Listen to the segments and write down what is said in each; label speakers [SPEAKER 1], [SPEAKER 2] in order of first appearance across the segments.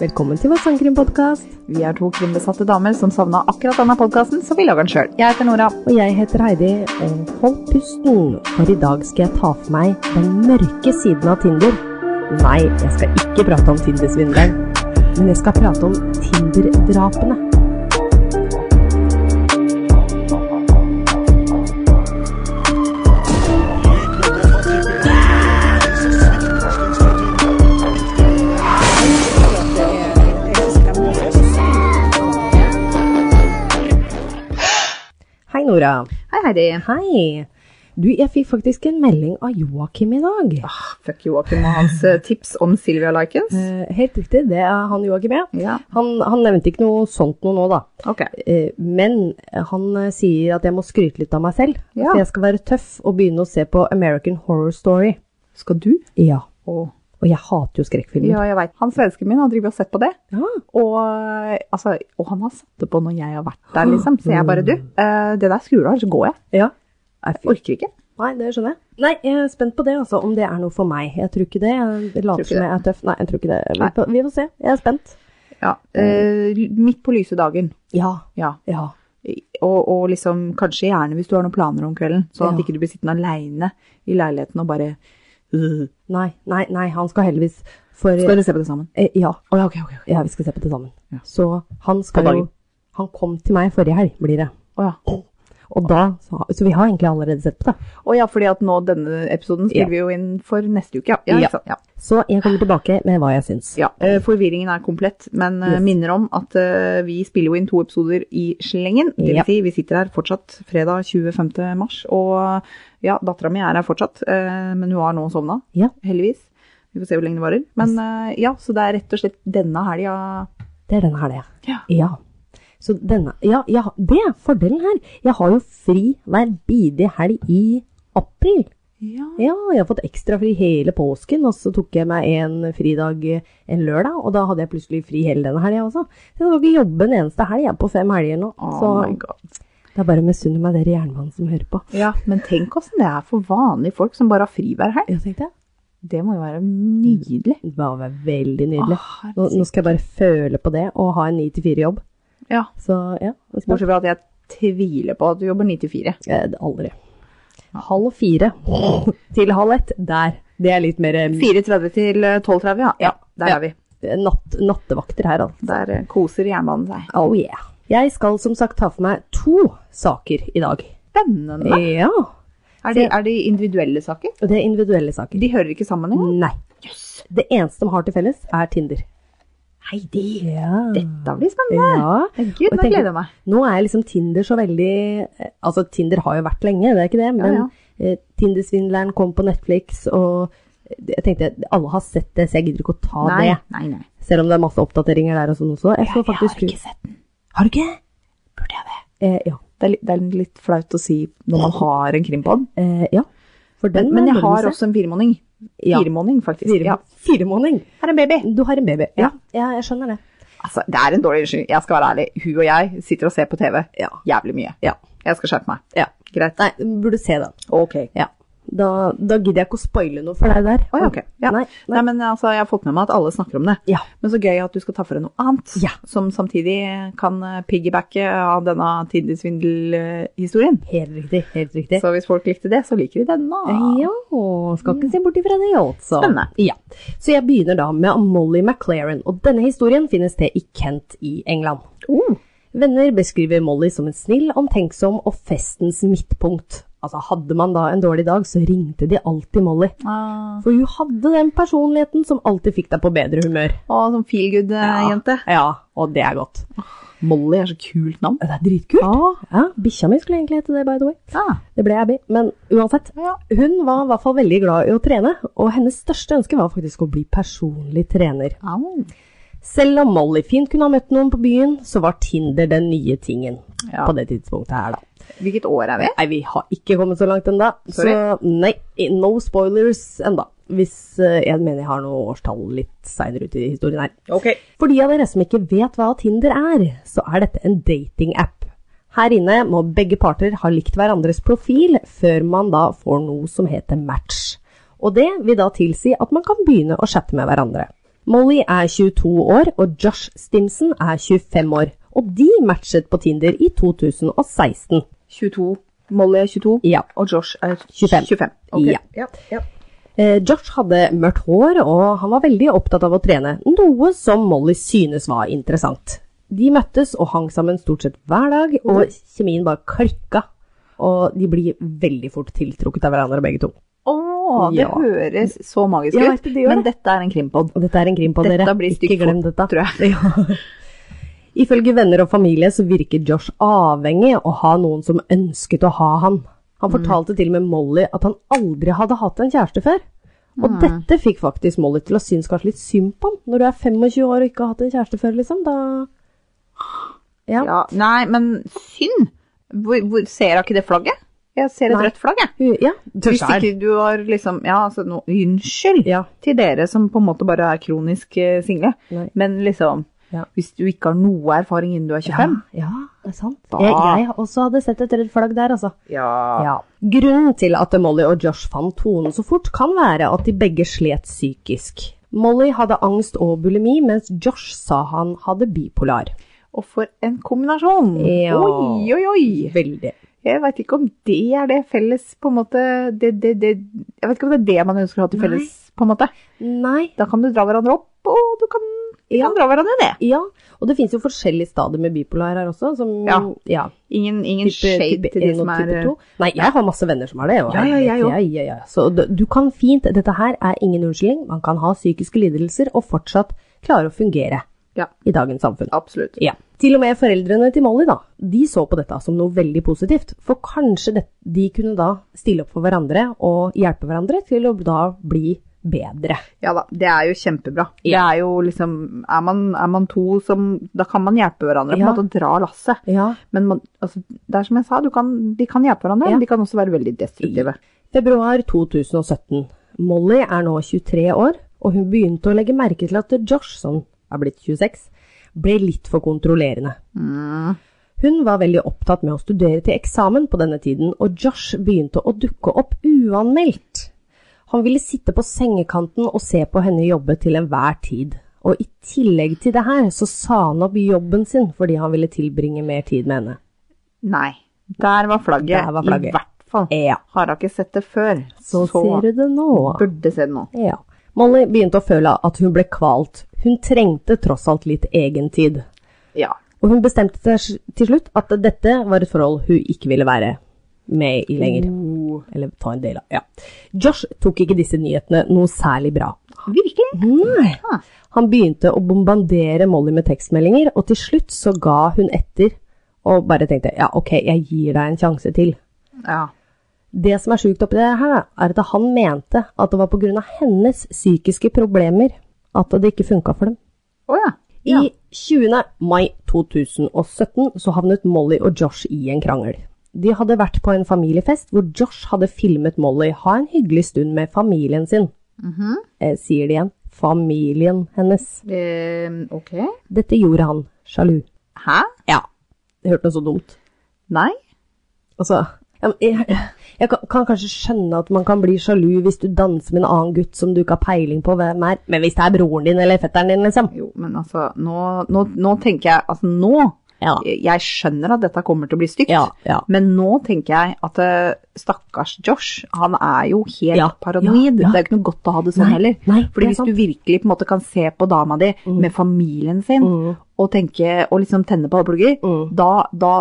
[SPEAKER 1] Velkommen til vår sangkrimpodkast.
[SPEAKER 2] Vi er to krimbesatte damer som savna akkurat denne podkasten, så vi lager den sjøl. Jeg heter Nora.
[SPEAKER 1] Og jeg heter Heidi, og hold pusten, for i dag skal jeg ta for meg den mørke siden av Tinder. Nei, jeg skal ikke prate om Tinder-svindelen, men jeg skal prate om Tinder-drapene. Hei, Nora.
[SPEAKER 2] Hei, Heidi.
[SPEAKER 1] Hei. Du, jeg fikk faktisk en melding av Joakim i dag.
[SPEAKER 2] Ah, fuck Joakim og hans eh, tips om Silvia Likens.
[SPEAKER 1] Eh, helt riktig, det er han Joakim, ja.
[SPEAKER 2] Ja,
[SPEAKER 1] Han, han nevnte ikke noe sånt noe nå, da.
[SPEAKER 2] ok.
[SPEAKER 1] Eh, Men han eh, sier at jeg må skryte litt av meg selv.
[SPEAKER 2] Ja.
[SPEAKER 1] For jeg skal være tøff og begynne å se på American Horror Story.
[SPEAKER 2] Skal du?
[SPEAKER 1] Ja.
[SPEAKER 2] Å.
[SPEAKER 1] Og jeg hater jo skrekkfilmer.
[SPEAKER 2] Ja, jeg veit. Han svensken min har drevet og sett på det.
[SPEAKER 1] Ja.
[SPEAKER 2] Og, eh, altså, og han har satt det på når jeg har vært der, liksom. Så jeg bare Du, eh, det der skrur du av, så går jeg.
[SPEAKER 1] ja.
[SPEAKER 2] Jeg orker ikke.
[SPEAKER 1] Nei, det skjønner jeg. Nei, jeg er spent på det, altså. Om det er noe for meg. Jeg tror ikke det. Jeg
[SPEAKER 2] ikke
[SPEAKER 1] later som jeg er tøff. Nei, jeg tror ikke det. Vi får, vi får se. Jeg er spent.
[SPEAKER 2] Ja, eh, midt på lyse dagen.
[SPEAKER 1] Ja.
[SPEAKER 2] Ja.
[SPEAKER 1] Ja.
[SPEAKER 2] Og, og liksom, kanskje gjerne hvis du har noen planer om kvelden, sånn at
[SPEAKER 1] Ja.
[SPEAKER 2] ikke du blir sittende aleine i leiligheten og bare øh,
[SPEAKER 1] Nei, nei, nei. Han skal heldigvis for
[SPEAKER 2] Skal dere se på det sammen?
[SPEAKER 1] eh, ja.
[SPEAKER 2] Å ja, ok, ok. ok.
[SPEAKER 1] ja, vi skal se på det sammen.
[SPEAKER 2] Ja.
[SPEAKER 1] Så han skal
[SPEAKER 2] På
[SPEAKER 1] jo
[SPEAKER 2] dagen.
[SPEAKER 1] Han kom til meg forrige helg, blir det.
[SPEAKER 2] Å ja.
[SPEAKER 1] Og da Så, så vi har egentlig allerede sett på det.
[SPEAKER 2] Å ja, fordi at nå denne episoden
[SPEAKER 1] Ja.
[SPEAKER 2] spiller vi jo inn for neste uke, ja. Ja,
[SPEAKER 1] Ja.
[SPEAKER 2] ikke sant? ja.
[SPEAKER 1] Så jeg kommer tilbake med hva jeg syns.
[SPEAKER 2] ja. eh, Forvirringen er komplett, men eh,
[SPEAKER 1] Yes.
[SPEAKER 2] minner om at eh, vi spiller jo inn to episoder i slengen. Det vil
[SPEAKER 1] Ja.
[SPEAKER 2] si, vi sitter her fortsatt fredag 25. mars, og ja, dattera mi er her fortsatt, eh, men hun har nå sovna,
[SPEAKER 1] Ja.
[SPEAKER 2] heldigvis. Vi får se hvor lenge det varer. Men eh, ja, så det er rett og slett denne helga
[SPEAKER 1] Det er denne her, det.
[SPEAKER 2] Ja.
[SPEAKER 1] ja. Så denne Ja, ja det er fordelen her. Jeg har jo fri hver bidige helg i april.
[SPEAKER 2] ja.
[SPEAKER 1] Ja, jeg har fått ekstra fri hele påsken, og så tok jeg meg en fridag eh, en lørdag, og da hadde jeg plutselig fri hele denne helga også. Så jeg skal ikke jobbe en eneste helg jeg, på fem helger nå.
[SPEAKER 2] Oh
[SPEAKER 1] så
[SPEAKER 2] my god.
[SPEAKER 1] det er bare å misunne meg dere jernmannen som hører på.
[SPEAKER 2] Ja, men tenk åssen det er for vanlige folk som bare har fri hver helg.
[SPEAKER 1] Ja, tenkte jeg.
[SPEAKER 2] Det må jo være nydelig.
[SPEAKER 1] Det var veldig nydelig.
[SPEAKER 2] Åh,
[SPEAKER 1] Nå, nå skal jeg bare føle på det, og ha en 9-4-jobb.
[SPEAKER 2] Ja,
[SPEAKER 1] Så ja, det er smart.
[SPEAKER 2] Bortsett fra at jeg tviler på at du jobber 9 til 4.
[SPEAKER 1] Eh, det- Aldri. Halv fire til halv ett. Der. Det er litt mer eh,
[SPEAKER 2] 4.30 til eh, 12.30, ja. ja. Der
[SPEAKER 1] Ja.
[SPEAKER 2] er vi.
[SPEAKER 1] natt, nattevakter her, altså.
[SPEAKER 2] Der eh, koser jernbanen seg.
[SPEAKER 1] Oh yeah. Jeg skal som sagt ta for meg to saker i dag.
[SPEAKER 2] Spennende.
[SPEAKER 1] Ja.
[SPEAKER 2] Er de, er de individuelle saker?
[SPEAKER 1] Og det er individuelle saker.
[SPEAKER 2] De hører ikke sammen engang.
[SPEAKER 1] Nei. Det eneste de har til felles, er Tinder.
[SPEAKER 2] Heidi,
[SPEAKER 1] Ja.
[SPEAKER 2] dette blir spennende.
[SPEAKER 1] ja. Og
[SPEAKER 2] Gud,
[SPEAKER 1] jeg
[SPEAKER 2] nå gleder
[SPEAKER 1] tenker,
[SPEAKER 2] jeg meg.
[SPEAKER 1] nå er liksom Tinder så veldig eh, Altså, Tinder har jo vært lenge, det er ikke det, men
[SPEAKER 2] ja.
[SPEAKER 1] eh, Tinder-svindleren kom på Netflix, og jeg tenkte alle har sett det, så jeg gidder ikke å ta
[SPEAKER 2] Nei,
[SPEAKER 1] det.
[SPEAKER 2] nei, nei.
[SPEAKER 1] Selv om det er masse oppdateringer der og sånn også. Jeg så faktisk
[SPEAKER 2] jeg har ikke sett den.
[SPEAKER 1] Har du ikke?
[SPEAKER 2] Burde jeg det?
[SPEAKER 1] Eh, ja.
[SPEAKER 2] Det er, litt- det er litt flaut å si når man har en krimpod.
[SPEAKER 1] Eh, ja. For den
[SPEAKER 2] Men,
[SPEAKER 1] er
[SPEAKER 2] men jeg
[SPEAKER 1] bra å
[SPEAKER 2] har
[SPEAKER 1] se.
[SPEAKER 2] også en firemåning.
[SPEAKER 1] Ja.
[SPEAKER 2] Firemåning, faktisk.
[SPEAKER 1] fire,
[SPEAKER 2] Ja.
[SPEAKER 1] fire måneder.
[SPEAKER 2] Her er en baby.
[SPEAKER 1] Du har en baby.
[SPEAKER 2] Ja.
[SPEAKER 1] ja, jeg skjønner det.
[SPEAKER 2] Altså, det er en dårlig unnskyldning. Jeg skal være ærlig. Hun og jeg sitter og ser på TV
[SPEAKER 1] Ja.
[SPEAKER 2] jævlig mye.
[SPEAKER 1] Ja.
[SPEAKER 2] Jeg skal skjerpe meg.
[SPEAKER 1] ja.
[SPEAKER 2] Greit.
[SPEAKER 1] Nei, du burde se den.
[SPEAKER 2] Ok.
[SPEAKER 1] Ja. Da, da gidder jeg ikke å spoile noe for deg der.
[SPEAKER 2] Å, ja, ok. Ja.
[SPEAKER 1] Nei,
[SPEAKER 2] Nei,
[SPEAKER 1] nei.
[SPEAKER 2] men altså, jeg har fått med meg at alle snakker om det.
[SPEAKER 1] Ja.
[SPEAKER 2] Men så gøy at du skal ta for deg noe annet,
[SPEAKER 1] Ja.
[SPEAKER 2] som samtidig kan eh, piggybacke av denne tidligssvindelhistorien.
[SPEAKER 1] Helt riktig. Helt riktig.
[SPEAKER 2] Så hvis folk likte det, så liker de denne.
[SPEAKER 1] Eh, Ja, skal ikke se bort ifra det, altså.
[SPEAKER 2] Mm. Spennende.
[SPEAKER 1] Ja. Så jeg begynner da med Molly McLaren, og denne historien finner sted i Kent i England.
[SPEAKER 2] Oh,
[SPEAKER 1] Venner beskriver Molly som en snill, omtenksom og festens midtpunkt. Altså, hadde man da en dårlig dag, så ringte de alltid Molly.
[SPEAKER 2] ah.
[SPEAKER 1] For hun hadde den personligheten som alltid fikk deg på bedre humør.
[SPEAKER 2] Å, sånn feelgood-jente.
[SPEAKER 1] Ja, og det er godt.
[SPEAKER 2] Molly er så kult navn.
[SPEAKER 1] Det er dritkult.
[SPEAKER 2] Ah.
[SPEAKER 1] Ja, bikkja mi skulle egentlig hete det, by the way.
[SPEAKER 2] Ja.
[SPEAKER 1] Det ble Abby, men uansett.
[SPEAKER 2] Ja.
[SPEAKER 1] Hun var i hvert fall veldig glad i å trene, og hennes største ønske var faktisk å bli personlig trener.
[SPEAKER 2] Au.
[SPEAKER 1] Selv om Molly fint kunne ha møtt noen på byen, så var Tinder den nye tingen
[SPEAKER 2] Ja.
[SPEAKER 1] på det tidspunktet her, da.
[SPEAKER 2] Hvilket år er vi?
[SPEAKER 1] Nei, vi har ikke kommet så langt ennå, så
[SPEAKER 2] Sorry.
[SPEAKER 1] nei, no spoilers ennå. Hvis eh, jeg mener jeg har noe årstall litt seinere ut i historien her.
[SPEAKER 2] Ok.
[SPEAKER 1] For de av dere som ikke vet hva Tinder er, så er dette en datingapp. Her inne må begge parter ha likt hverandres profil før man da får noe som heter match. Og det vil da tilsi at man kan begynne å chatte med hverandre. Molly er 22 år, og Josh Stimson er 25 år. Og de matchet på Tinder i 2016.
[SPEAKER 2] 22. Molly er 22,
[SPEAKER 1] Ja.
[SPEAKER 2] og Josh er
[SPEAKER 1] 25.
[SPEAKER 2] 25. Ok.
[SPEAKER 1] Ja.
[SPEAKER 2] ja.
[SPEAKER 1] Eh, Josh hadde mørkt hår, og han var veldig opptatt av å trene, noe som Molly synes var interessant. De møttes og hang sammen stort sett hver dag, og
[SPEAKER 2] Mm.
[SPEAKER 1] kjemien bare klikka. Og de blir veldig fort tiltrukket av hverandre, begge to.
[SPEAKER 2] Å, det
[SPEAKER 1] Ja.
[SPEAKER 2] høres så magisk
[SPEAKER 1] Ja,
[SPEAKER 2] ut.
[SPEAKER 1] det gjør
[SPEAKER 2] Men
[SPEAKER 1] det.
[SPEAKER 2] dette er en krimpod.
[SPEAKER 1] Og dette er en krim på
[SPEAKER 2] Dette
[SPEAKER 1] dere.
[SPEAKER 2] blir stygt
[SPEAKER 1] Ikke glem
[SPEAKER 2] fort,
[SPEAKER 1] dette.
[SPEAKER 2] tror jeg.
[SPEAKER 1] Ifølge venner og familie så virker Josh avhengig av å ha noen som ønsket å ha han. Han fortalte til og med Molly at han aldri hadde hatt en kjæreste før. Og dette fikk faktisk Molly til å synes kanskje litt synd på han. Når du er 25 år og ikke har hatt en kjæreste før, liksom, da Ja.
[SPEAKER 2] Ja. Nei, men synd! Hvor, hvor, ser jeg ikke det flagget? Jeg ser et
[SPEAKER 1] Nei.
[SPEAKER 2] rødt flagg, jeg.
[SPEAKER 1] Hun, ja,
[SPEAKER 2] Hvis ikke du har liksom Ja, altså, no, unnskyld
[SPEAKER 1] Ja.
[SPEAKER 2] til dere som på en måte bare er kronisk eh, single,
[SPEAKER 1] Nei.
[SPEAKER 2] men liksom
[SPEAKER 1] Ja.
[SPEAKER 2] Hvis du ikke har noe erfaring innen du er
[SPEAKER 1] Ja,
[SPEAKER 2] 25
[SPEAKER 1] ja, det er sant.
[SPEAKER 2] Da-
[SPEAKER 1] Jeg, jeg også hadde sett et rødt flagg der, altså.
[SPEAKER 2] Ja.
[SPEAKER 1] Ja. Grunnen til at Molly og Josh fant tonen så fort, kan være at de begge slet psykisk. Molly hadde angst og bulimi, mens Josh sa han hadde bipolar.
[SPEAKER 2] Og for en kombinasjon!
[SPEAKER 1] Ja.
[SPEAKER 2] Oi, oi, oi!
[SPEAKER 1] Veldig.
[SPEAKER 2] Jeg veit ikke om det er det felles på en måte det, det, det, Jeg vet ikke om det er det man ønsker å ha til
[SPEAKER 1] Nei.
[SPEAKER 2] felles, på en måte.
[SPEAKER 1] Nei.
[SPEAKER 2] Da kan du dra hverandre opp, og du kan, de
[SPEAKER 1] Ja.
[SPEAKER 2] kan dra hverandre ned.
[SPEAKER 1] Ja, og det finnes jo forskjellige stadier med bipolar her også. Som,
[SPEAKER 2] Ja.
[SPEAKER 1] ja.
[SPEAKER 2] Ingen, ingen
[SPEAKER 1] Type,
[SPEAKER 2] shade
[SPEAKER 1] type
[SPEAKER 2] til de
[SPEAKER 1] 1 og
[SPEAKER 2] som er
[SPEAKER 1] type 2. Nei, jeg har masse venner som har det. og
[SPEAKER 2] Ja, ja, jeg
[SPEAKER 1] helvete,
[SPEAKER 2] også.
[SPEAKER 1] ja, ja. Så d- du kan fint Dette her er ingen unnskyldning. Man kan ha psykiske lidelser og fortsatt klare å fungere
[SPEAKER 2] Ja.
[SPEAKER 1] i dagens samfunn.
[SPEAKER 2] Absolutt.
[SPEAKER 1] Ja. Til og med foreldrene til Molly da, de så på dette som noe veldig positivt, for kanskje det, de kunne da stille opp for hverandre og hjelpe hverandre til å da bli bedre.
[SPEAKER 2] Ja da, det er jo kjempebra. Det
[SPEAKER 1] Ja.
[SPEAKER 2] er jo liksom er man, er man to som Da kan man hjelpe hverandre på en
[SPEAKER 1] Ja.
[SPEAKER 2] måte og dra lasset.
[SPEAKER 1] Ja.
[SPEAKER 2] Men man, altså, det er som jeg sa, du kan, de kan hjelpe hverandre,
[SPEAKER 1] Ja.
[SPEAKER 2] men de kan også være veldig destruktive.
[SPEAKER 1] Februar 2017. Molly er nå 23 år, og hun begynte å legge merke til at Josh, som er blitt 26, ble litt for kontrollerende. Hun var veldig opptatt med å studere til eksamen på denne tiden, og Josh begynte å dukke opp uanmeldt. Han ville sitte på sengekanten og se på henne jobbe til enhver tid. Og i tillegg til det her, så sa han opp jobben sin fordi han ville tilbringe mer tid med henne.
[SPEAKER 2] Nei. Der var flagget.
[SPEAKER 1] Der var flagget.
[SPEAKER 2] I hvert fall.
[SPEAKER 1] Ja,
[SPEAKER 2] Har jeg ikke sett det før,
[SPEAKER 1] så, ser du det nå.
[SPEAKER 2] burde se det nå.
[SPEAKER 1] Ja. Molly begynte å føle at hun ble kvalt. Hun trengte tross alt litt egentid.
[SPEAKER 2] Ja.
[SPEAKER 1] Og hun bestemte seg til slutt at dette var et forhold hun ikke ville være med i lenger.
[SPEAKER 2] Oh,
[SPEAKER 1] Eller ta en del av. Ja. Josh tok ikke disse nyhetene noe særlig bra.
[SPEAKER 2] virkelig?
[SPEAKER 1] Nei.
[SPEAKER 2] Ah.
[SPEAKER 1] Han begynte å bombardere Molly med tekstmeldinger, og til slutt så ga hun etter og bare tenkte ja, ok, jeg gir deg en sjanse til.
[SPEAKER 2] Ja.
[SPEAKER 1] Det som er sjukt oppi det her, er at han mente at det var pga. hennes psykiske problemer at det ikke funka for dem.
[SPEAKER 2] Å ja.
[SPEAKER 1] I 20. mai 2017 så havnet Molly og Josh i en krangel. De hadde vært på en familiefest hvor Josh hadde filmet Molly ha en hyggelig stund med familien sin. eh, sier de igjen. Familien hennes.
[SPEAKER 2] Eh, ok.
[SPEAKER 1] Dette gjorde han sjalu.
[SPEAKER 2] Hæ?
[SPEAKER 1] Ja. Jeg hørte noe så dumt.
[SPEAKER 2] Nei?
[SPEAKER 1] Altså, jeg, jeg, jeg kan, kan kanskje skjønne at man kan bli sjalu hvis du danser med en annen gutt som du ikke har peiling på hvem er, men hvis det er broren din eller fetteren din, liksom.
[SPEAKER 2] Jo, men altså, nå, nå, nå tenker jeg Altså, nå
[SPEAKER 1] Ja.
[SPEAKER 2] Jeg skjønner at dette kommer til å bli stygt,
[SPEAKER 1] Ja, ja.
[SPEAKER 2] men nå tenker jeg at eh, stakkars Josh, han er jo helt
[SPEAKER 1] Ja,
[SPEAKER 2] paranoid.
[SPEAKER 1] ja, ja.
[SPEAKER 2] Det er jo ikke noe godt å ha det sånn
[SPEAKER 1] Nei,
[SPEAKER 2] heller.
[SPEAKER 1] nei, det er
[SPEAKER 2] Fordi hvis
[SPEAKER 1] sant. Mm.
[SPEAKER 2] du virkelig på en måte kan se på dama di med familien sin, og tenke, og liksom tenne på alle plugger,
[SPEAKER 1] Mm.
[SPEAKER 2] da, da,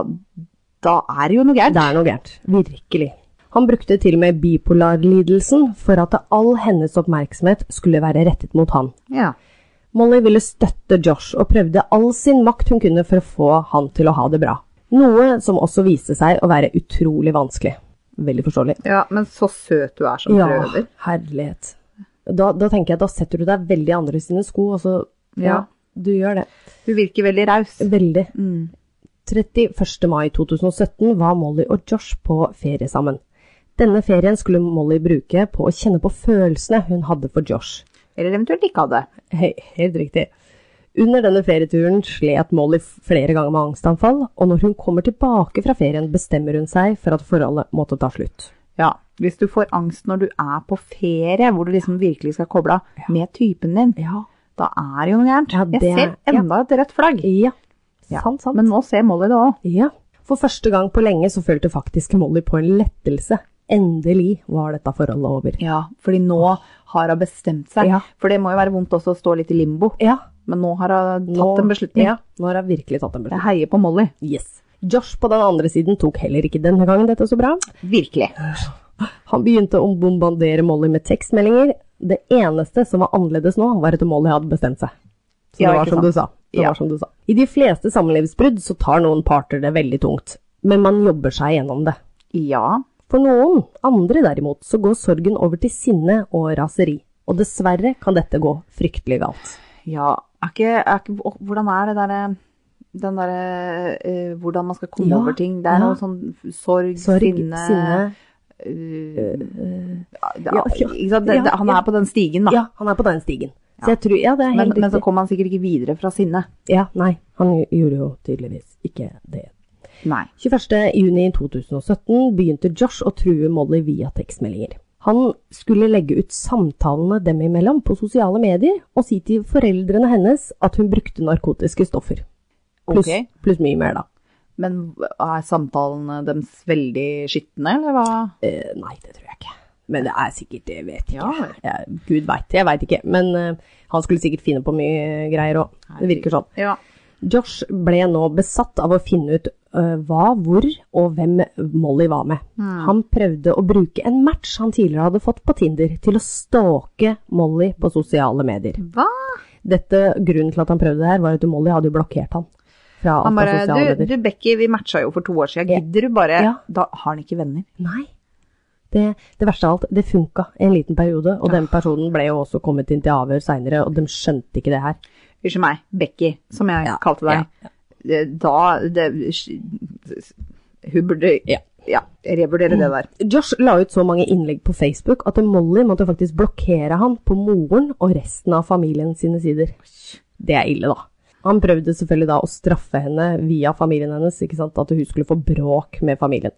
[SPEAKER 2] da er det jo noe gærent.
[SPEAKER 1] Det er noe gærent. Virkelig. Han brukte til og med bipolarlidelsen for at all hennes oppmerksomhet skulle være rettet mot han.
[SPEAKER 2] Ja.
[SPEAKER 1] Molly ville støtte Josh og prøvde all sin makt hun kunne for å få han til å ha det bra. Noe som også viste seg å være utrolig vanskelig. Veldig forståelig.
[SPEAKER 2] ja, men så søt du er som prøver.
[SPEAKER 1] herlighet. Da, da tenker jeg at da setter du deg veldig i andre sine sko, og så ja,
[SPEAKER 2] Ja.
[SPEAKER 1] du gjør det.
[SPEAKER 2] Du virker veldig raus.
[SPEAKER 1] Veldig. 31. mai 2017 var Molly og Josh på ferie sammen. Denne ferien skulle Molly bruke på å kjenne på følelsene hun hadde for Josh.
[SPEAKER 2] Eller eventuelt ikke hadde.
[SPEAKER 1] Hei, helt riktig. Under denne ferieturen slet Molly flere ganger med angstanfall, og når hun kommer tilbake fra ferien, bestemmer hun seg for at forholdet måtte ta slutt.
[SPEAKER 2] Ja. Hvis du får angst når du er på ferie, hvor du liksom virkelig skal koble av med typen din,
[SPEAKER 1] Ja.
[SPEAKER 2] Da er det jo noe gærent.
[SPEAKER 1] Ja, det
[SPEAKER 2] jeg
[SPEAKER 1] er-
[SPEAKER 2] ser enda et rødt flagg.
[SPEAKER 1] Ja.
[SPEAKER 2] Ja,
[SPEAKER 1] Sant, sant.
[SPEAKER 2] Men nå ser Molly det òg.
[SPEAKER 1] Ja. For første gang på lenge så følte faktisk Molly på en lettelse. Endelig var dette forholdet over.
[SPEAKER 2] Ja, fordi nå har hun bestemt seg.
[SPEAKER 1] Ja.
[SPEAKER 2] For det må jo være vondt også å stå litt i limbo.
[SPEAKER 1] Ja,
[SPEAKER 2] Men nå har hun tatt
[SPEAKER 1] nå-
[SPEAKER 2] en beslutning.
[SPEAKER 1] Ja, nå har hun virkelig tatt en beslutning.
[SPEAKER 2] Jeg heier på Molly.
[SPEAKER 1] Yes. Josh på den andre siden tok heller ikke denne gangen dette så bra.
[SPEAKER 2] Virkelig.
[SPEAKER 1] Han begynte å bombardere Molly med tekstmeldinger. Det eneste som var annerledes nå, var at Molly hadde bestemt seg. Så
[SPEAKER 2] Ja,
[SPEAKER 1] det, var
[SPEAKER 2] ikke
[SPEAKER 1] som,
[SPEAKER 2] sant?
[SPEAKER 1] du sa. det
[SPEAKER 2] Ja.
[SPEAKER 1] var som du sa. I de fleste samlivsbrudd så tar noen parter det veldig tungt, men man jobber seg gjennom det.
[SPEAKER 2] Ja.
[SPEAKER 1] For noen andre derimot, så går sorgen over til sinne og raseri. Og dessverre kan dette gå fryktelig galt.
[SPEAKER 2] Ja, er ikke, er ikke, å, hvordan er det derre den derre eh, Hvordan man skal komme
[SPEAKER 1] Ja,
[SPEAKER 2] over ting. Det
[SPEAKER 1] ja.
[SPEAKER 2] er noe sånn sorg,
[SPEAKER 1] Sorg,
[SPEAKER 2] sinne,
[SPEAKER 1] sinne
[SPEAKER 2] eh, ja,
[SPEAKER 1] ja, ja,
[SPEAKER 2] ikke sant? Det,
[SPEAKER 1] ja,
[SPEAKER 2] det, han
[SPEAKER 1] ja.
[SPEAKER 2] er på den stigen, da.
[SPEAKER 1] Ja, han er på den stigen. Så jeg tror, ja, det er helt
[SPEAKER 2] men,
[SPEAKER 1] riktig.
[SPEAKER 2] men så kom han sikkert ikke videre fra sinne.
[SPEAKER 1] Ja, nei, han gjorde jo tydeligvis ikke det.
[SPEAKER 2] Nei.
[SPEAKER 1] 21.6.2017 begynte Josh å true Molly via tekstmeldinger. Han skulle legge ut samtalene dem imellom på sosiale medier og si til foreldrene hennes at hun brukte narkotiske stoffer. Pluss
[SPEAKER 2] Ok.
[SPEAKER 1] pluss mye mer, da.
[SPEAKER 2] Men er samtalene deres veldig skitne, eller hva?
[SPEAKER 1] Eh, nei, det tror jeg ikke. Men det er sikkert, det vet jeg
[SPEAKER 2] Ja.
[SPEAKER 1] ikke. Jeg, Gud veit, jeg veit ikke. Men eh, han skulle sikkert finne på mye greier òg. Det virker sånn.
[SPEAKER 2] Ja.
[SPEAKER 1] Josh ble nå besatt av å finne ut øh, hva, hvor og hvem Molly var med. Han prøvde å bruke en match han tidligere hadde fått på Tinder, til å stalke Molly på sosiale medier.
[SPEAKER 2] Hva?
[SPEAKER 1] Dette Grunnen til at han prøvde det her, var at Molly hadde jo blokkert han fra alt
[SPEAKER 2] Han
[SPEAKER 1] av
[SPEAKER 2] bare
[SPEAKER 1] sosiale
[SPEAKER 2] Du,
[SPEAKER 1] medier.
[SPEAKER 2] du Becky, vi matcha jo for to år siden. Gidder du bare
[SPEAKER 1] Ja.
[SPEAKER 2] Da har han ikke venner.
[SPEAKER 1] Nei. Det, det verste av alt, det funka en liten periode, og den personen ble jo også kommet inn til avhør seinere, og de skjønte ikke det her.
[SPEAKER 2] Unnskyld meg, Becky, som jeg
[SPEAKER 1] Ja,
[SPEAKER 2] kalte deg. Eh, Da det, Hun burde
[SPEAKER 1] Ja.
[SPEAKER 2] ja, revurdere det der.
[SPEAKER 1] Josh la ut så mange innlegg på Facebook at Molly måtte faktisk blokkere han på moren og resten av familien sine sider. Det er ille, da. Han prøvde selvfølgelig da å straffe henne via familien hennes, ikke sant? at hun skulle få bråk med familien.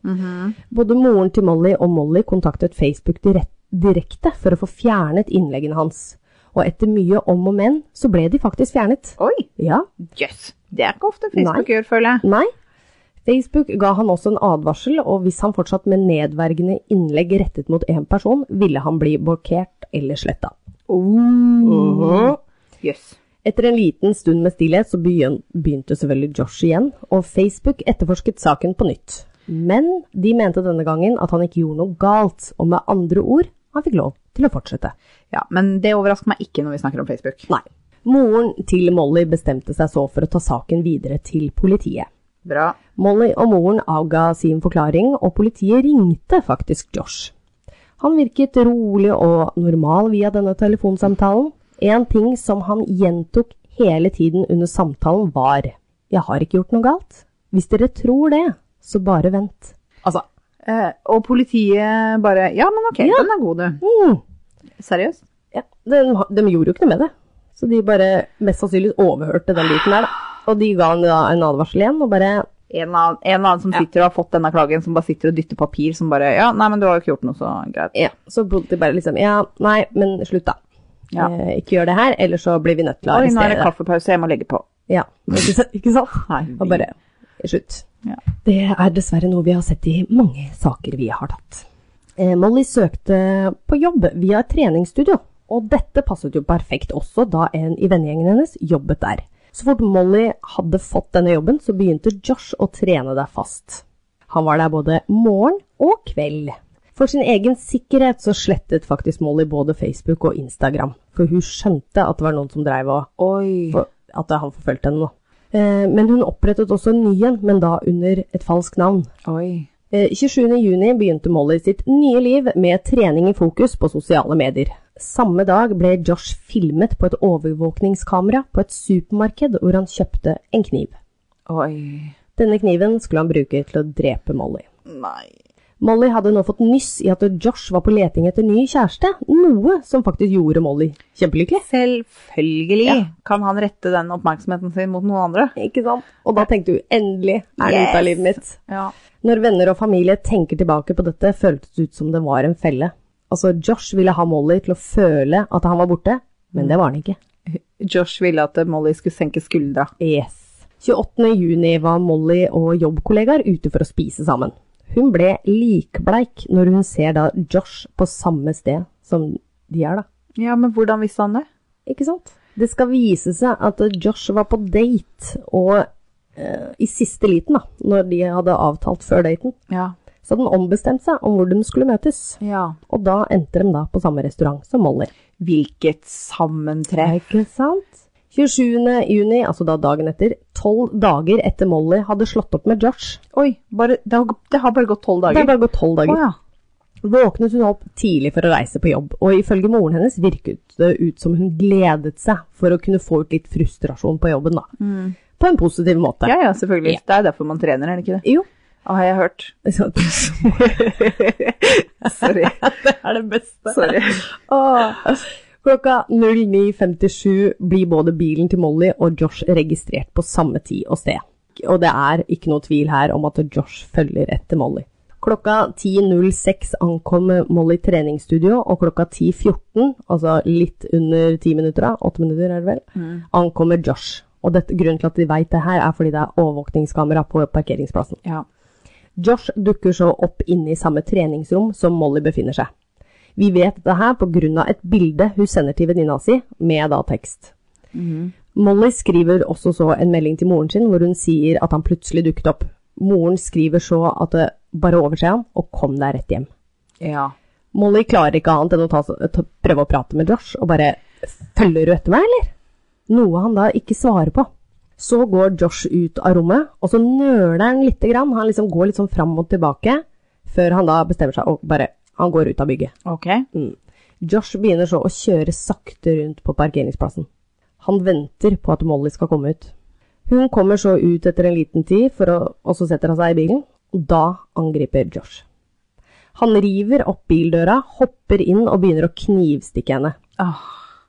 [SPEAKER 1] Både moren til Molly og Molly kontaktet Facebook direk direkte for å få fjernet innleggene hans. Og etter mye om og men, så ble de faktisk fjernet.
[SPEAKER 2] Oi,
[SPEAKER 1] Ja,
[SPEAKER 2] jøss. Det er ikke ofte Facebook gjør, føler jeg.
[SPEAKER 1] Nei. Facebook ga han også en advarsel, og hvis han fortsatt med nedverdigende innlegg rettet mot én person, ville han bli blokkert eller sletta.
[SPEAKER 2] Oh. Jøss.
[SPEAKER 1] Etter en liten stund med stillhet så begyn- begynte selvfølgelig Josh igjen, og Facebook etterforsket saken på nytt. Men de mente denne gangen at han ikke gjorde noe galt, og med andre ord, han fikk lov til å fortsette.
[SPEAKER 2] Ja, men det overrasker meg ikke når vi snakker om Facebook.
[SPEAKER 1] Nei. Moren til Molly bestemte seg så for å ta saken videre til politiet.
[SPEAKER 2] Bra.
[SPEAKER 1] Molly og moren avga sin forklaring, og politiet ringte faktisk Josh. Han virket rolig og normal via denne telefonsamtalen. En ting som han gjentok hele tiden under samtalen var Jeg har ikke gjort noe galt. Hvis dere tror det, så bare vent. Altså,
[SPEAKER 2] Eh, og politiet bare Ja, Oh. men ok, den er god, du.
[SPEAKER 1] mm,
[SPEAKER 2] Seriøst?
[SPEAKER 1] ja, de, de gjorde jo ikke noe med det. Så de bare mest sannsynlig overhørte den biten der, da. Og de ga han da en advarsel igjen, og bare
[SPEAKER 2] En eller annen, en eller annen som sitter og har fått denne klagen, som bare sitter og dytter papir, som bare Ja, nei, men du har jo ikke gjort noe, så greit.
[SPEAKER 1] Ja, så bodde de bare liksom Ja, nei, men slutt, da.
[SPEAKER 2] Ja.
[SPEAKER 1] Eh, ikke gjør det her, ellers så blir vi nødt til å
[SPEAKER 2] Oi, nå er
[SPEAKER 1] arrestere
[SPEAKER 2] det
[SPEAKER 1] deg.
[SPEAKER 2] kaffepause, jeg må legge på.
[SPEAKER 1] Ja, ikke sant? Ikke sant?
[SPEAKER 2] Nei,
[SPEAKER 1] Og bare slutt.
[SPEAKER 2] Ja.
[SPEAKER 1] Det er dessverre noe vi har sett i mange saker vi har tatt. Eh, Molly søkte på jobb via et treningsstudio, og dette passet jo perfekt også da en i vennegjengen hennes jobbet der. Så fort Molly hadde fått denne jobben, så begynte Josh å trene der fast. Han var der både morgen og kveld. For sin egen sikkerhet så slettet faktisk Molly både Facebook og Instagram, for hun skjønte at det var noen som dreiv og
[SPEAKER 2] Oi.
[SPEAKER 1] for at han forfulgte henne. da. Eh, Men hun opprettet også en ny en, men da under et falskt navn.
[SPEAKER 2] Oi.
[SPEAKER 1] Eh, 27.6 begynte Molly sitt nye liv med trening i fokus på sosiale medier. Samme dag ble Josh filmet på et overvåkningskamera på et supermarked hvor han kjøpte en kniv.
[SPEAKER 2] Oi.
[SPEAKER 1] Denne kniven skulle han bruke til å drepe Molly.
[SPEAKER 2] Nei.
[SPEAKER 1] Molly hadde nå fått nyss i at Josh var på leting etter ny kjæreste, noe som faktisk gjorde Molly kjempelykkelig.
[SPEAKER 2] Selvfølgelig kan han rette den oppmerksomheten sin mot noen andre.
[SPEAKER 1] Ikke sant? Og da tenkte hun endelig er det ute av
[SPEAKER 2] Yes!
[SPEAKER 1] livet mitt.
[SPEAKER 2] Ja.
[SPEAKER 1] Når venner og familie tenker tilbake på dette, føltes det ut som det var en felle. Altså, Josh ville ha Molly til å føle at han var borte, men det var han ikke.
[SPEAKER 2] Josh ville at Molly skulle senke skuldra.
[SPEAKER 1] Yes. 28. juni var Molly og jobbkollegaer ute for å spise sammen. Hun ble likbleik når hun ser da Josh på samme sted som de er, da.
[SPEAKER 2] Ja, men hvordan visste han det?
[SPEAKER 1] Ikke sant? Det skal vise seg at Josh var på date, og eh, i siste liten, da, når de hadde avtalt før daten,
[SPEAKER 2] Ja.
[SPEAKER 1] så hadde han ombestemt seg om hvor de skulle møtes.
[SPEAKER 2] ja.
[SPEAKER 1] Og da endte de da på samme restaurant som Molly.
[SPEAKER 2] Hvilket sammentreff.
[SPEAKER 1] Ikke sant? 27. juni, altså da dagen etter, tolv dager etter Molly hadde slått opp med Josh.
[SPEAKER 2] Oi, bare, det, har, det har bare gått tolv
[SPEAKER 1] Det
[SPEAKER 2] dager.
[SPEAKER 1] har bare gått tolv
[SPEAKER 2] Å
[SPEAKER 1] dager.
[SPEAKER 2] ja.
[SPEAKER 1] Våknet hun opp tidlig for å reise på jobb, og ifølge moren hennes virket det ut som hun gledet seg for å kunne få ut litt frustrasjon på jobben, da. På en positiv måte.
[SPEAKER 2] Mm. ja, ja, selvfølgelig. Det er derfor man trener, er det ikke det?
[SPEAKER 1] Jo.
[SPEAKER 2] Har jeg hørt.
[SPEAKER 1] Så- det
[SPEAKER 2] Sorry.
[SPEAKER 1] er det beste.
[SPEAKER 2] Sorry.
[SPEAKER 1] Åh. Klokka 09.57 blir både bilen til Molly og Josh registrert på samme tid og sted. Og det er ikke noe tvil her om at Josh følger etter Molly. Klokka 10.06 ankom Molly treningsstudio, og klokka 10.14, altså litt under 10 minutter, da, 8 minutter er det vel, ankommer Josh. Og dette, grunnen til at de vet det her, er fordi det er overvåkningskamera på parkeringsplassen.
[SPEAKER 2] Ja.
[SPEAKER 1] Josh dukker så opp inne i samme treningsrom som Molly befinner seg. Vi vet dette her pga. et bilde hun sender til venninna si, med da tekst. Molly skriver også så en melding til moren sin, hvor hun sier at han plutselig dukket opp. Moren skriver så at det bare overse ham, og kom deg rett hjem.
[SPEAKER 2] ja.
[SPEAKER 1] Molly klarer ikke annet enn å ta, ta, prøve å prate med Josh, og bare Følger du etter meg, eller? Noe han da ikke svarer på. Så går Josh ut av rommet, og så nøler han lite grann. Han liksom går litt sånn fram og tilbake, før han da bestemmer seg og bare Han går ut av bygget.
[SPEAKER 2] Ok.
[SPEAKER 1] Mm. Josh begynner så å kjøre sakte rundt på parkeringsplassen. Han venter på at Molly skal komme ut. Hun kommer så ut etter en liten tid, for å, og så setter han seg i bilen. Og da angriper Josh. Han river opp bildøra, hopper inn og begynner å knivstikke henne.
[SPEAKER 2] Ah,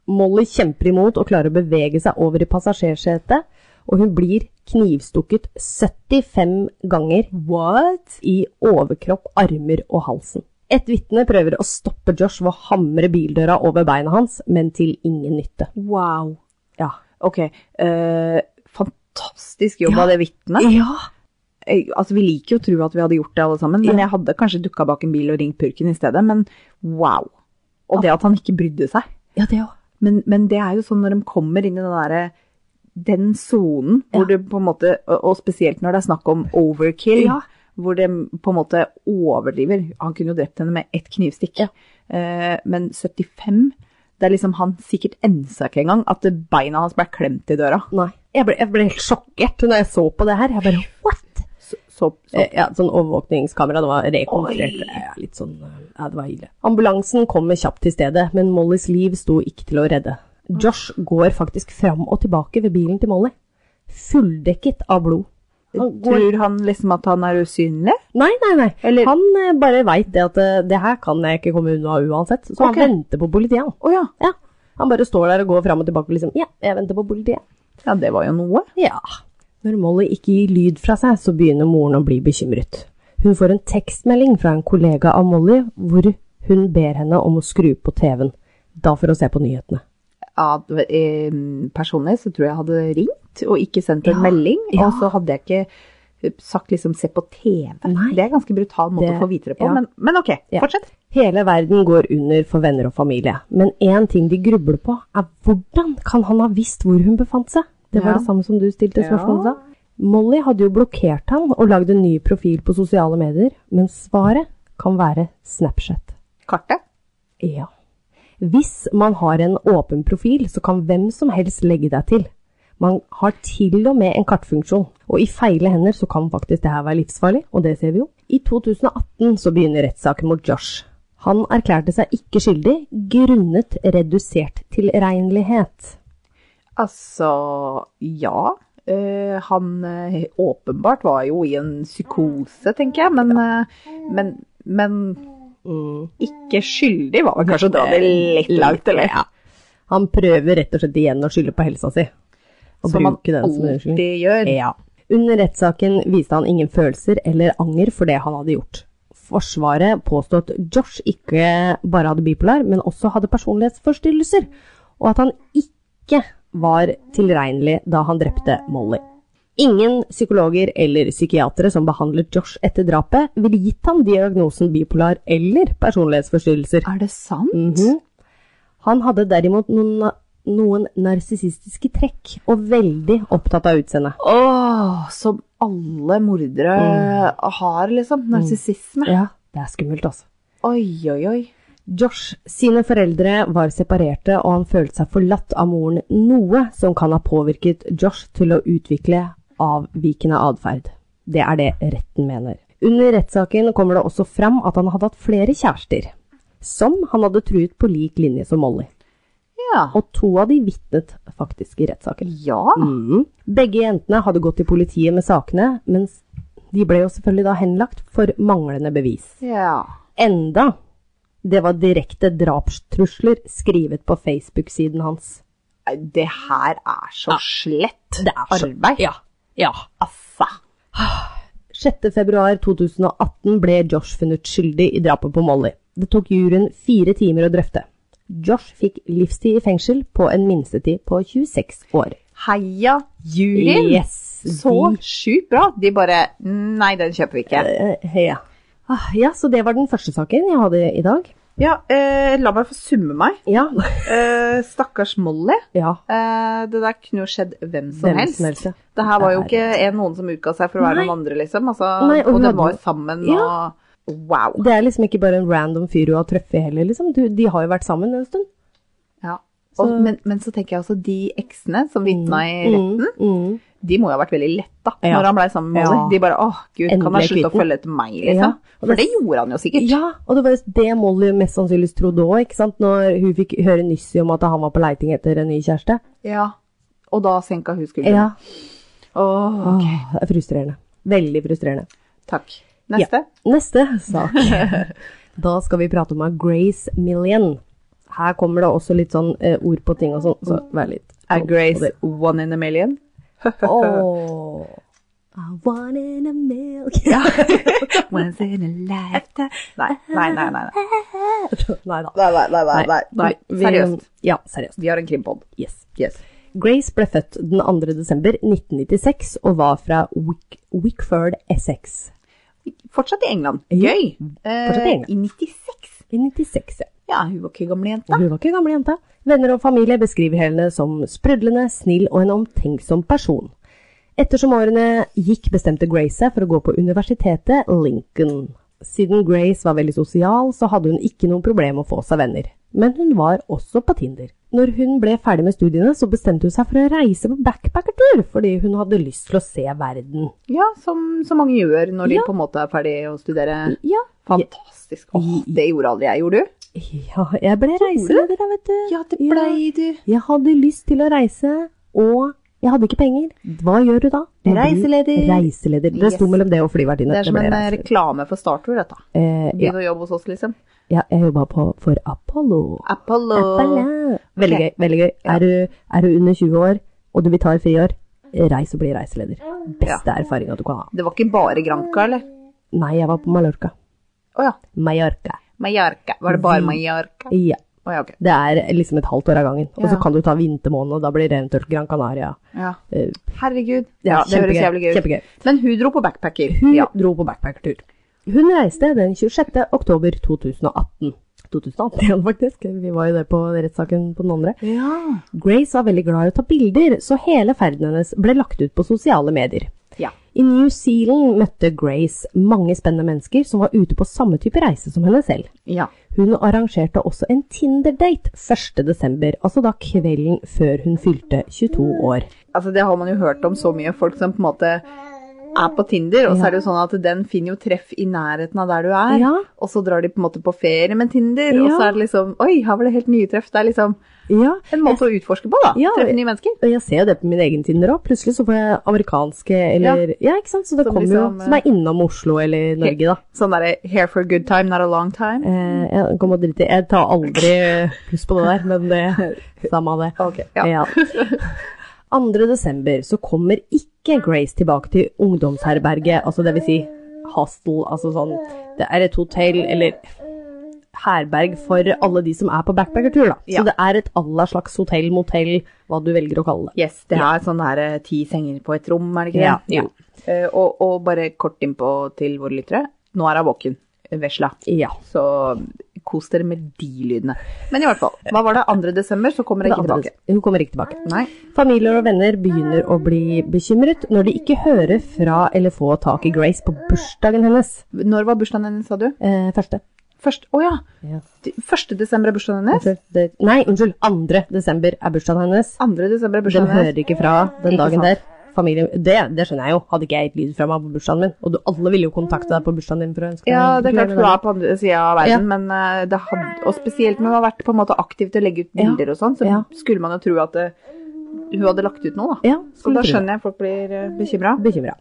[SPEAKER 1] Molly kjemper imot og klarer å bevege seg over i passasjersetet, og hun blir knivstukket 75 ganger What? i overkropp, armer og halsen. Et vitne prøver å stoppe Josh ved å hamre bildøra over beina hans, men til ingen nytte.
[SPEAKER 2] wow.
[SPEAKER 1] Ja.
[SPEAKER 2] Ok. eh, fantastisk jobb av det vitnet.
[SPEAKER 1] ja.
[SPEAKER 2] Eh, Altså, vi liker jo å tro at vi hadde gjort det alle sammen, men jeg hadde kanskje dukka bak en bil og ringt purken i stedet, men wow. Og det at han ikke brydde seg.
[SPEAKER 1] Ja, det òg.
[SPEAKER 2] Men, men det er jo sånn når de kommer inn i den derre den sonen hvor det på en måte, og og spesielt når det er snakk om overkill,
[SPEAKER 1] Ja.
[SPEAKER 2] hvor de på en måte overdriver. Han kunne jo drept henne med ett knivstikk,
[SPEAKER 1] Ja.
[SPEAKER 2] Eh, men 75 Det er liksom han sikkert ensa ikke engang at beina hans ble klemt i døra.
[SPEAKER 1] Nei. Jeg ble, jeg ble helt sjokkert når jeg så på det her. Jeg bare what?
[SPEAKER 2] Så, så, så.
[SPEAKER 1] Eh, Ja, sånn overvåkningskamera. Det var rekonstruert.
[SPEAKER 2] Oi.
[SPEAKER 1] Ja, litt sånn eh, Ja, det var ille. Ambulansen kommer kjapt til stedet, men Mollys liv sto ikke til å redde.
[SPEAKER 2] Mm.
[SPEAKER 1] Josh går faktisk fram og tilbake ved bilen til Molly, fulldekket av blod. Han går
[SPEAKER 2] Tror han liksom at han er usynlig?
[SPEAKER 1] Nei, nei, nei.
[SPEAKER 2] Eller-
[SPEAKER 1] Han eh, bare veit det at eh, det her kan jeg ikke komme unna uansett. Så han
[SPEAKER 2] Ok.
[SPEAKER 1] venter på politiet, han.
[SPEAKER 2] Å ja.
[SPEAKER 1] Ja. Han bare står der og går fram og tilbake og liksom Ja, jeg venter på politiet.
[SPEAKER 2] Ja, det var jo noe.
[SPEAKER 1] Ja. Når Molly ikke gir lyd fra seg, så begynner moren å bli bekymret. Hun får en tekstmelding fra en kollega av Molly, hvor hun ber henne om å skru på TV-en. Da for å se på nyhetene.
[SPEAKER 2] Ja, det var- eh, personlig så tror jeg jeg hadde ringt og ikke sendt en
[SPEAKER 1] Ja,
[SPEAKER 2] melding.
[SPEAKER 1] ja.
[SPEAKER 2] Og så hadde jeg ikke sagt liksom 'se på TV'.
[SPEAKER 1] Nei.
[SPEAKER 2] Det er en ganske brutal måte
[SPEAKER 1] Det-
[SPEAKER 2] å få vite det på,
[SPEAKER 1] ja.
[SPEAKER 2] men, men ok,
[SPEAKER 1] Ja.
[SPEAKER 2] fortsett.
[SPEAKER 1] Hele verden går under for venner og familie, men én ting de grubler på, er hvordan kan han ha visst hvor hun befant seg? Det var
[SPEAKER 2] Ja.
[SPEAKER 1] det samme som du stilte spørsmål
[SPEAKER 2] Ja.
[SPEAKER 1] om. Molly hadde jo blokkert han og lagd en ny profil på sosiale medier, men svaret kan være Snapchat.
[SPEAKER 2] Kartet?
[SPEAKER 1] Ja. Hvis man har en åpen profil, så kan hvem som helst legge deg til. Man har til og med en kartfunksjon, og i feile hender så kan faktisk det her være livsfarlig, og det ser vi jo. I 2018 så begynner rettssaken mot Josh. Han erklærte seg ikke skyldig grunnet redusert tilregnelighet.
[SPEAKER 2] Altså, ja. Eh, han eh, åpenbart var jo i en psykose, tenker jeg, men, eh, men, men ikke skyldig var vel kanskje å dra det litt
[SPEAKER 1] Eh,
[SPEAKER 2] langt, eller?
[SPEAKER 1] Ja. Han prøver rett og slett igjen å skylde på helsa si. Og
[SPEAKER 2] Som man
[SPEAKER 1] bruke den som en unnskyldning.
[SPEAKER 2] alltid gjør.
[SPEAKER 1] Ja. Under rettssaken viste han ingen følelser eller anger for det han hadde gjort. Forsvaret påstod at Josh ikke bare hadde bipolar, men også hadde personlighetsforstyrrelser, og at han ikke ikke var tilregnelig da han drepte Molly. Ingen psykologer eller psykiatere som behandlet Josh etter drapet, ville gitt ham diagnosen bipolar eller personlighetsforstyrrelser.
[SPEAKER 2] Er det sant?
[SPEAKER 1] Mhm. Han hadde derimot noen, noen narsissistiske trekk, og veldig opptatt av utseendet.
[SPEAKER 2] Åh, som alle mordere
[SPEAKER 1] Mm.
[SPEAKER 2] har, liksom. Narsissisme.
[SPEAKER 1] Ja, det er skummelt, altså.
[SPEAKER 2] Oi, oi, oi.
[SPEAKER 1] Josh sine foreldre var separerte, og han følte seg forlatt av moren, noe som kan ha påvirket Josh til å utvikle avvikende atferd. Det er det retten mener. Under rettssaken kommer det også fram at han hadde hatt flere kjærester, som han hadde truet på lik linje som Molly.
[SPEAKER 2] Ja.
[SPEAKER 1] Og to av de vitnet faktisk i rettssaken.
[SPEAKER 2] ja.
[SPEAKER 1] Mm. Begge jentene hadde gått til politiet med sakene, mens de ble jo selvfølgelig da henlagt for manglende bevis.
[SPEAKER 2] Ja.
[SPEAKER 1] Enda det var direkte drapstrusler skrevet på Facebook-siden hans.
[SPEAKER 2] Nei, Det her er så slett
[SPEAKER 1] Det er så- Altså,
[SPEAKER 2] arbeid. altså.
[SPEAKER 1] Ja. ja.
[SPEAKER 2] Affa.
[SPEAKER 1] 6.2.2018 ble Josh funnet skyldig i drapet på Molly. Det tok juryen fire timer å drøfte. Josh fikk livstid i fengsel på en minstetid på 26 år.
[SPEAKER 2] Heia juryen.
[SPEAKER 1] Yes,
[SPEAKER 2] Så sjukt bra. De bare Nei, den kjøper vi ikke.
[SPEAKER 1] Eh, ja. Ah, ja, så det var den første saken jeg hadde i dag.
[SPEAKER 2] Ja, eh, la meg få summe meg.
[SPEAKER 1] Ja.
[SPEAKER 2] Eh, stakkars Molly.
[SPEAKER 1] ja.
[SPEAKER 2] Eh, det der kunne jo skjedd hvem som
[SPEAKER 1] Hvem
[SPEAKER 2] helst.
[SPEAKER 1] som helst, ja.
[SPEAKER 2] Det her var jo
[SPEAKER 1] Det
[SPEAKER 2] ikke en, noen som utga seg for å være
[SPEAKER 1] Nei.
[SPEAKER 2] noen andre, liksom. Altså,
[SPEAKER 1] Nei, og
[SPEAKER 2] og
[SPEAKER 1] hun
[SPEAKER 2] de
[SPEAKER 1] hadde
[SPEAKER 2] var
[SPEAKER 1] jo-
[SPEAKER 2] jo sammen
[SPEAKER 1] Ja.
[SPEAKER 2] og Wow.
[SPEAKER 1] Det er liksom ikke bare en random fyr du har truffet heller, liksom. Du, de har jo vært sammen en stund.
[SPEAKER 2] Ja. Og,
[SPEAKER 1] Så-
[SPEAKER 2] men, men så tenker jeg også de eksene som vitna i retten,
[SPEAKER 1] Mm.
[SPEAKER 2] de må jo ha vært veldig letta
[SPEAKER 1] Ja.
[SPEAKER 2] når han blei sammen med
[SPEAKER 1] Ja.
[SPEAKER 2] Molly. De bare åh, gud, kan han
[SPEAKER 1] Endelig
[SPEAKER 2] slutte å
[SPEAKER 1] kvitt den.
[SPEAKER 2] følge etter meg, liksom?
[SPEAKER 1] Ja. Og
[SPEAKER 2] For det
[SPEAKER 1] det-
[SPEAKER 2] gjorde han jo sikkert.
[SPEAKER 1] Ja, og det var jo det Molly mest sannsynligvis trodde òg, ikke sant. Når hun fikk høre nysset om at han var på leiting etter en ny kjæreste.
[SPEAKER 2] Ja. Og da senka hun skulderen.
[SPEAKER 1] Ja.
[SPEAKER 2] Åh,
[SPEAKER 1] Åh, det er frustrerende. Veldig frustrerende.
[SPEAKER 2] takk. Neste.
[SPEAKER 1] Neste sak. da skal vi prate om av Grace Million. Her kommer det også litt sånn eh, ord på ting og sånn, så vær litt
[SPEAKER 2] Er Grace one in a million?
[SPEAKER 1] Åh. I want in a milk.
[SPEAKER 2] Once in a lifetime Nei, nei, nei. nei, nei.
[SPEAKER 1] Nei da.
[SPEAKER 2] Nei, nei, nei, nei, nei.
[SPEAKER 1] Vi-
[SPEAKER 2] Seriøst.
[SPEAKER 1] Ja, seriøst.
[SPEAKER 2] Vi har en krimpod.
[SPEAKER 1] Yes.
[SPEAKER 2] Yes.
[SPEAKER 1] Grace ble født den 2. desember 1996 og var fra Wick, Wickford, Essex.
[SPEAKER 2] Fortsatt i England. Gøy.
[SPEAKER 1] Fortsatt i England.
[SPEAKER 2] Eh, I 96.
[SPEAKER 1] I 96, ja.
[SPEAKER 2] Ja, hun var ikke gammel
[SPEAKER 1] Og
[SPEAKER 2] jente.
[SPEAKER 1] hun var ikke gamle jenta. Venner og familie beskriver henne som sprudlende, snill og en omtenksom person. Ettersom årene gikk, bestemte Grace seg for å gå på universitetet Lincoln. Siden Grace var veldig sosial, så hadde hun ikke noe problem å få seg venner. Men hun var også på Tinder. Når hun ble ferdig med studiene, så bestemte hun seg for å reise på backpackertur, fordi hun hadde lyst til å se verden.
[SPEAKER 2] Ja, som så mange gjør når de på en måte er ferdig å studere.
[SPEAKER 1] Ja,
[SPEAKER 2] Fantastisk. Åh, det gjorde aldri jeg. Gjorde du?
[SPEAKER 1] ja jeg ble reiseleder, da, vet du.
[SPEAKER 2] Ja, det blei du.
[SPEAKER 1] Jeg hadde lyst til å reise, og jeg hadde ikke penger. Hva gjør du da? Du blir
[SPEAKER 2] Reiseleder.
[SPEAKER 1] Reiseleder. Det sto
[SPEAKER 2] Yes.
[SPEAKER 1] mellom det og flyvertinne.
[SPEAKER 2] Det er som
[SPEAKER 1] ble
[SPEAKER 2] en eh,
[SPEAKER 1] reiseleder.
[SPEAKER 2] reklame for Startur, dette.
[SPEAKER 1] Eh, ja,
[SPEAKER 2] Begynn å jobbe hos oss, liksom.
[SPEAKER 1] ja, jeg jobba på- for Apollo.
[SPEAKER 2] Apollo.
[SPEAKER 1] Apollo. Veldig
[SPEAKER 2] Ok.
[SPEAKER 1] gøy. veldig gøy. Er, du, er du under 20 år, og du vil ta et friår, reis og bli reiseleder. Beste erfaringa du kan ha.
[SPEAKER 2] Det var ikke bare Granca, eller?
[SPEAKER 1] Nei, jeg var på Mallorca.
[SPEAKER 2] Å ja.
[SPEAKER 1] Mallorca.
[SPEAKER 2] Mallorca. Var det bare Mallorca?
[SPEAKER 1] Ja.
[SPEAKER 2] Å ja, ok.
[SPEAKER 1] Det er liksom et halvt år av gangen. Og
[SPEAKER 2] Ja.
[SPEAKER 1] så kan du ta vintermåneden, og da blir det eventuelt Gran Canaria.
[SPEAKER 2] Ja.
[SPEAKER 1] Eh,
[SPEAKER 2] Herregud.
[SPEAKER 1] Ja,
[SPEAKER 2] Ja, det høres
[SPEAKER 1] kjempegøy.
[SPEAKER 2] jævlig gøy ut.
[SPEAKER 1] Kjempegøy.
[SPEAKER 2] Men hun dro på backpacker.
[SPEAKER 1] Hun
[SPEAKER 2] Ja.
[SPEAKER 1] dro på backpackertur. Hun reiste den 26. oktober 2018. 2018 igjen, faktisk. Vi var jo der på rettssaken på den andre.
[SPEAKER 2] Ja.
[SPEAKER 1] Grace var veldig glad i å ta bilder, så hele ferden hennes ble lagt ut på sosiale medier.
[SPEAKER 2] Ja.
[SPEAKER 1] I New Zealand møtte Grace mange spennende mennesker som var ute på samme type reise som henne selv.
[SPEAKER 2] ja.
[SPEAKER 1] Hun arrangerte også en Tinder-date 1. desember, altså da kvelden før hun fylte 22 år.
[SPEAKER 2] Altså, det har man jo hørt om så mye. Folk som på en måte er på Tinder, og så er det jo sånn at den finner jo treff i nærheten av der du er.
[SPEAKER 1] Ja.
[SPEAKER 2] Og så drar de på en måte på ferie med Tinder, og
[SPEAKER 1] Ja.
[SPEAKER 2] så er det liksom Oi, her var det helt nye treff. Det er liksom
[SPEAKER 1] Ja,
[SPEAKER 2] en måte å utforske på, da.
[SPEAKER 1] Ja.
[SPEAKER 2] Treffe nye mennesker.
[SPEAKER 1] Og jeg ser jo det på min egen Tinder òg. Plutselig så får jeg amerikanske eller Ja, ikke sant? Så det
[SPEAKER 2] Som
[SPEAKER 1] kommer
[SPEAKER 2] liksom,
[SPEAKER 1] jo som er innom Oslo eller Norge, da.
[SPEAKER 2] Sånn derre here for a good time, not a long time.
[SPEAKER 1] Eh, jeg kommer å drite i Jeg tar aldri pluss på det der, men det Samme av det.
[SPEAKER 2] Ok, ja.
[SPEAKER 1] 2. desember så kommer ikke Grace tilbake til ungdomsherberget, altså det vil si hostel, altså sånn Det er et hotell eller herberg for alle de som er på backpackertur, da.
[SPEAKER 2] Ja.
[SPEAKER 1] Så det er et alla slags hotell, motell, hva du velger å kalle det.
[SPEAKER 2] Yes, det er sånn her eh, ti senger på et rom, er det ikke det?
[SPEAKER 1] Ja, ja.
[SPEAKER 2] Eh, og, og bare kort innpå til våre lyttere. Nå er hun våken, vesla.
[SPEAKER 1] Ja.
[SPEAKER 2] Så kos dere med de lydene. Men i hvert fall, hva var det? 2. desember, så kommer jeg ikke
[SPEAKER 1] Det andre-
[SPEAKER 2] tilbake.
[SPEAKER 1] Hun kommer ikke tilbake.
[SPEAKER 2] Nei.
[SPEAKER 1] Familier og venner begynner å bli bekymret når de ikke hører fra eller får tak i Grace på bursdagen hennes.
[SPEAKER 2] Når var bursdagen hennes, sa du?
[SPEAKER 1] Eh, første.
[SPEAKER 2] Først, å ja.
[SPEAKER 1] Ja.
[SPEAKER 2] 1. desember er bursdagen hennes.
[SPEAKER 1] Unnskyld, det, nei, unnskyld. 2. desember er bursdagen hennes.
[SPEAKER 2] 2. desember er
[SPEAKER 1] De
[SPEAKER 2] bursdagen hennes.
[SPEAKER 1] hører ikke fra den
[SPEAKER 2] Ah, Ikke
[SPEAKER 1] dagen der.
[SPEAKER 2] sant.
[SPEAKER 1] Familien, det, det skjønner jeg jo. Hadde ikke jeg gitt lyd fra meg på bursdagen min. Og du, alle ville jo kontakte deg på bursdagen din for å ønske deg
[SPEAKER 2] Ja, det er klart hun er på andre sida av verden,
[SPEAKER 1] Ja.
[SPEAKER 2] men eh, det hadde, og spesielt når hun har vært på en måte aktiv til å legge ut
[SPEAKER 1] Ja.
[SPEAKER 2] bilder og sånn, så
[SPEAKER 1] Ja.
[SPEAKER 2] skulle man jo tro at eh, hun hadde lagt ut noe, da.
[SPEAKER 1] Ja,
[SPEAKER 2] Så da
[SPEAKER 1] skulle tro det.
[SPEAKER 2] skjønner jeg at folk blir eh, bekymra.
[SPEAKER 1] bekymra.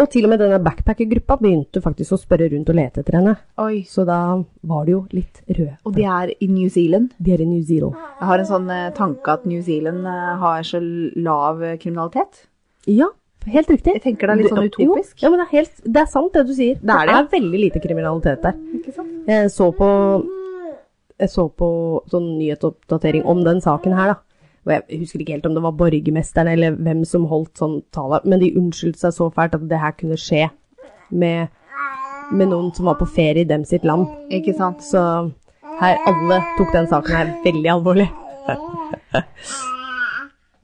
[SPEAKER 1] Og til og med denne backpackergruppa begynte faktisk å spørre rundt og lete etter henne.
[SPEAKER 2] Oi.
[SPEAKER 1] Så da var det jo litt røde.
[SPEAKER 2] Og det er i New Zealand.
[SPEAKER 1] De er i New Zealand.
[SPEAKER 2] Jeg har en sånn eh, tanke at New Zealand eh, har så lav eh, kriminalitet.
[SPEAKER 1] Ja, helt riktig.
[SPEAKER 2] Jeg tenker det er litt sånn
[SPEAKER 1] Jo,
[SPEAKER 2] utopisk.
[SPEAKER 1] Ja, men det er, helt, det er sant det du sier.
[SPEAKER 2] Det er det, ja.
[SPEAKER 1] veldig lite kriminalitet der.
[SPEAKER 2] Ikke sant?
[SPEAKER 1] Jeg så på, jeg så på sånn nyhetsoppdatering om den saken her, da. Og jeg husker ikke helt om det var borgermesteren eller hvem som holdt sånn tale, men de unnskyldte seg så fælt at det her kunne skje med, med noen som var på ferie i dem sitt land.
[SPEAKER 2] Ikke sant?
[SPEAKER 1] Så her, alle tok den saken her veldig alvorlig.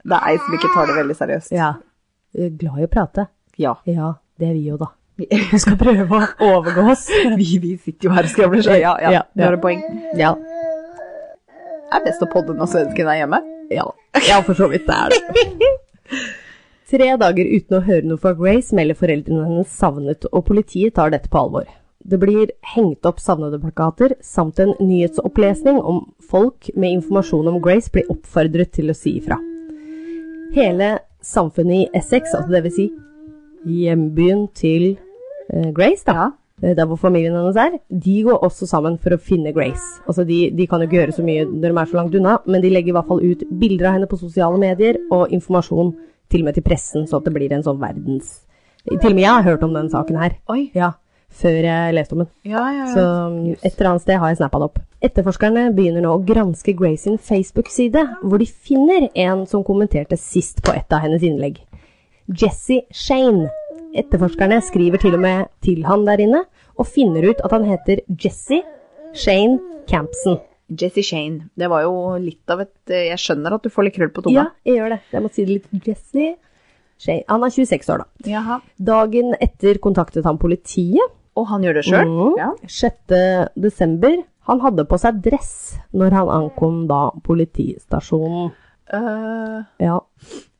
[SPEAKER 2] Det er ei som ikke tar det veldig seriøst.
[SPEAKER 1] Ja. Eh, Glad i å prate.
[SPEAKER 2] Ja.
[SPEAKER 1] Ja, det er vi jo da. Vi skal prøve å overgå oss.
[SPEAKER 2] Vi, vi sitter jo her og skravler, så ja, ja,
[SPEAKER 1] Ja,
[SPEAKER 2] du
[SPEAKER 1] ja.
[SPEAKER 2] har et poeng.
[SPEAKER 1] Ja,
[SPEAKER 2] Det er best å podde når svensken er hjemme.
[SPEAKER 1] ja. ja for så vidt det er det. Tre dager uten å høre noe fra Grace melder foreldrene hennes savnet, og politiet tar dette på alvor. Det blir hengt opp savnede plakater, samt en nyhetsopplesning om folk med informasjon om Grace blir oppfordret til å si ifra. Hele samfunnet i Essex, altså det vil si hjembyen til eh, Grace, da,
[SPEAKER 2] Ja.
[SPEAKER 1] eh, der hvor familien hennes er, de går også sammen for å finne Grace. Altså de, de kan jo ikke gjøre så mye når de er så langt unna, men de legger i hvert fall ut bilder av henne på sosiale medier og informasjon til og med til pressen, så at det blir en sånn verdens... Til og med jeg har hørt om den saken her.
[SPEAKER 2] Oi.
[SPEAKER 1] Ja, før jeg leste om den.
[SPEAKER 2] Ja, ja,
[SPEAKER 1] Så um, et eller annet sted har jeg snappa det opp. Etterforskerne begynner nå å granske Grace sin Facebook-side, hvor de finner en som kommenterte sist på et av hennes innlegg. Jesse Shane. Etterforskerne skriver til og med til han der inne, og finner ut at han heter Jesse Shane Campson.
[SPEAKER 2] Jesse Shane. Det var jo litt av et eh, Jeg skjønner at du får litt krøll på tunga.
[SPEAKER 1] Ja, jeg gjør det. Jeg må si det litt. Jesse Shane. Han er 26 år, da.
[SPEAKER 2] Jaha.
[SPEAKER 1] Dagen etter kontaktet han politiet.
[SPEAKER 2] Og han gjør det sjøl?
[SPEAKER 1] Mhm.
[SPEAKER 2] Ja.
[SPEAKER 1] 6. desember. Han hadde på seg dress når han ankom da politistasjonen.
[SPEAKER 2] Eh,
[SPEAKER 1] Ja,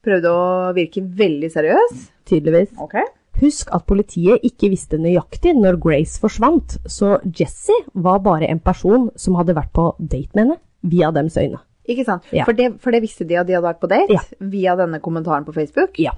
[SPEAKER 2] prøvde å virke veldig seriøs.
[SPEAKER 1] tydeligvis.
[SPEAKER 2] Ok.
[SPEAKER 1] Husk at politiet ikke visste nøyaktig når Grace forsvant, så Jesse var bare en person som hadde vært på date med henne via dems øyne.
[SPEAKER 2] Ikke sant?
[SPEAKER 1] Ja.
[SPEAKER 2] For, det, for det visste de at de hadde vært på date
[SPEAKER 1] Ja.
[SPEAKER 2] via denne kommentaren på Facebook?
[SPEAKER 1] Ja,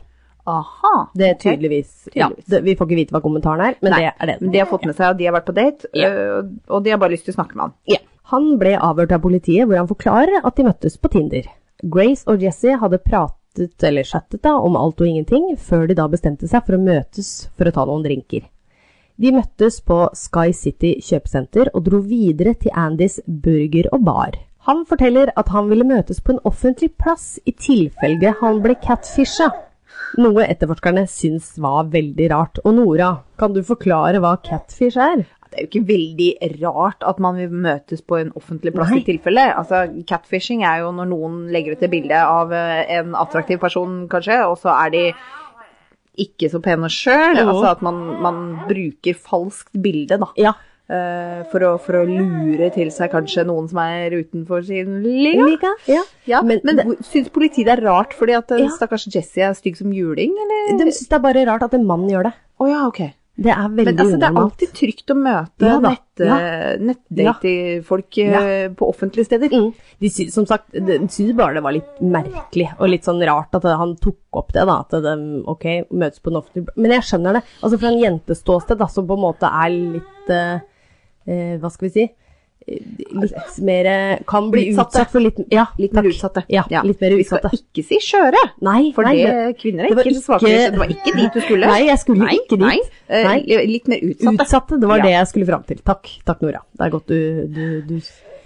[SPEAKER 2] Aha.
[SPEAKER 1] det er
[SPEAKER 2] ok.
[SPEAKER 1] tydeligvis. Ja,
[SPEAKER 2] Tydeligvis.
[SPEAKER 1] det, vi får ikke vite hva kommentaren er, men
[SPEAKER 2] Nei,
[SPEAKER 1] det er
[SPEAKER 2] Men
[SPEAKER 1] den.
[SPEAKER 2] de har fått med seg at de har vært på date,
[SPEAKER 1] Ja.
[SPEAKER 2] eh, og de har bare lyst til å snakke med han.
[SPEAKER 1] Ja. Han ble avhørt av politiet, hvor han forklarer at de møttes på Tinder. Grace og Jesse hadde pratet, eller chattet da, om alt og ingenting, før de da bestemte seg for å møtes for å ta noen drinker. De møttes på Sky City kjøpesenter og dro videre til Andys burger og bar. Han forteller at han ville møtes på en offentlig plass i tilfelle han ble catfisha. Noe etterforskerne syns var veldig rart. Og Nora, kan du forklare hva catfish er?
[SPEAKER 2] Det er jo ikke veldig rart at man vil møtes på en offentlig plass
[SPEAKER 1] Nei.
[SPEAKER 2] i tilfelle. Altså, catfishing er jo når noen legger ut et bilde av eh, en attraktiv person, kanskje, og så er de ikke så pene sjøl.
[SPEAKER 1] Mhm.
[SPEAKER 2] Altså at man, man bruker falskt bilde, da.
[SPEAKER 1] Ja,
[SPEAKER 2] eh, For å, for å lure til seg kanskje noen som er utenfor sin liga.
[SPEAKER 1] Lika? Ja.
[SPEAKER 2] Ja, men
[SPEAKER 1] Men det-
[SPEAKER 2] hvor- syns politiet det er rart fordi at eh,
[SPEAKER 1] Ja.
[SPEAKER 2] stakkars Jesse er stygg som juling, eller?
[SPEAKER 1] De syns det er bare rart at en mann gjør det.
[SPEAKER 2] Å ja, ok.
[SPEAKER 1] Det er veldig
[SPEAKER 2] Men altså, det er
[SPEAKER 1] unormalt.
[SPEAKER 2] alltid trygt å møte
[SPEAKER 1] Ja da,
[SPEAKER 2] nett, nettdate-folk eh, på offentlige steder.
[SPEAKER 1] Mm. De sy- som sagt, de syns bare det var litt merkelig og litt sånn rart at han tok opp det. da, at de, ok, møtes på en offentlig... Men jeg skjønner det. Altså Fra en jenteståsted, da, som på en måte er litt eh, eh, Hva skal vi si? litt mer eh, Kan bli
[SPEAKER 2] Utsatte.
[SPEAKER 1] utsatt for litt
[SPEAKER 2] Ja,
[SPEAKER 1] litt
[SPEAKER 2] mer
[SPEAKER 1] takk.
[SPEAKER 2] utsatte.
[SPEAKER 1] Ja, litt mer
[SPEAKER 2] Vi skal
[SPEAKER 1] utsatte.
[SPEAKER 2] ikke si skjøre,
[SPEAKER 1] Nei,
[SPEAKER 2] for
[SPEAKER 1] nei,
[SPEAKER 2] det, kvinner er
[SPEAKER 1] det var
[SPEAKER 2] ikke,
[SPEAKER 1] ikke-
[SPEAKER 2] svakere. Det var ikke dit du skulle.
[SPEAKER 1] Nei, jeg skulle ikke dit.
[SPEAKER 2] Nei, eh,
[SPEAKER 1] Nei.
[SPEAKER 2] Litt mer utsatte.
[SPEAKER 1] Utsatte, det var
[SPEAKER 2] Ja.
[SPEAKER 1] det jeg skulle fram til. Takk, takk Nora. Det er godt du, du, du,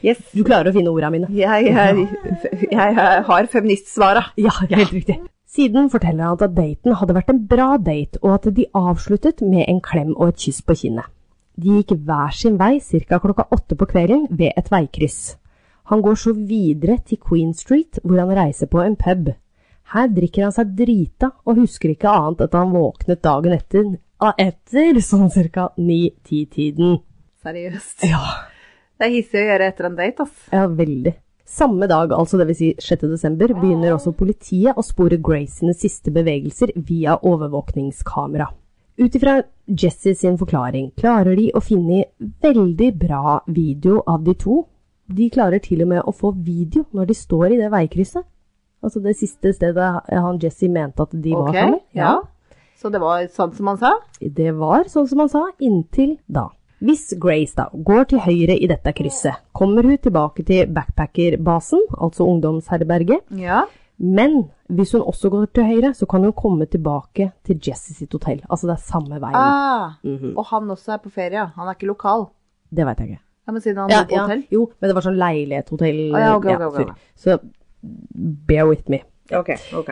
[SPEAKER 2] Yes.
[SPEAKER 1] du klarer å finne ordene mine.
[SPEAKER 2] Jeg, jeg, jeg har feministsvara.
[SPEAKER 1] Ja, helt riktig. Siden forteller han at daten hadde vært en bra date, og at de avsluttet med en klem og et kyss på kinnet. De gikk hver sin vei ca. klokka åtte på kvelden ved et veikryss. Han går så videre til Queen Street, hvor han reiser på en pub. Her drikker han seg drita og husker ikke annet at han våknet dagen etter, etter sånn ca. 9-10-tiden.
[SPEAKER 2] Seriøst.
[SPEAKER 1] Ja.
[SPEAKER 2] Det er hissig å gjøre etter en date, ass.
[SPEAKER 1] Ja, veldig. Samme dag, altså dvs. Si 6. desember, begynner også politiet å spore Grace sine siste bevegelser via overvåkningskamera. Ut ifra Jesse sin forklaring klarer de å finne veldig bra video av de to. De klarer til og med å få video når de står i det veikrysset. Altså det siste stedet han Jesse mente at de var sånn,
[SPEAKER 2] Ok,
[SPEAKER 1] sammen.
[SPEAKER 2] ja. Så det var sånn som han sa?
[SPEAKER 1] Det var, sånn som han sa, inntil da. Hvis Grace da går til høyre i dette krysset, kommer hun tilbake til backpackerbasen, altså ungdomsherberget,
[SPEAKER 2] Ja.
[SPEAKER 1] men hvis hun også går til høyre, så kan hun komme tilbake til Jesse sitt hotell. Altså det er samme veien.
[SPEAKER 2] Ah,
[SPEAKER 1] Mhm.
[SPEAKER 2] Og han også er på ferie, ja. han er ikke lokal.
[SPEAKER 1] Det veit jeg ikke.
[SPEAKER 2] Ja, men siden han
[SPEAKER 1] Ja,
[SPEAKER 2] bor på
[SPEAKER 1] ja.
[SPEAKER 2] hotell.
[SPEAKER 1] Jo, men det var sånn leilighethotell.
[SPEAKER 2] Ah, ja, ok, ok, ok, ok.
[SPEAKER 1] Så bear with me.
[SPEAKER 2] Ok, ok.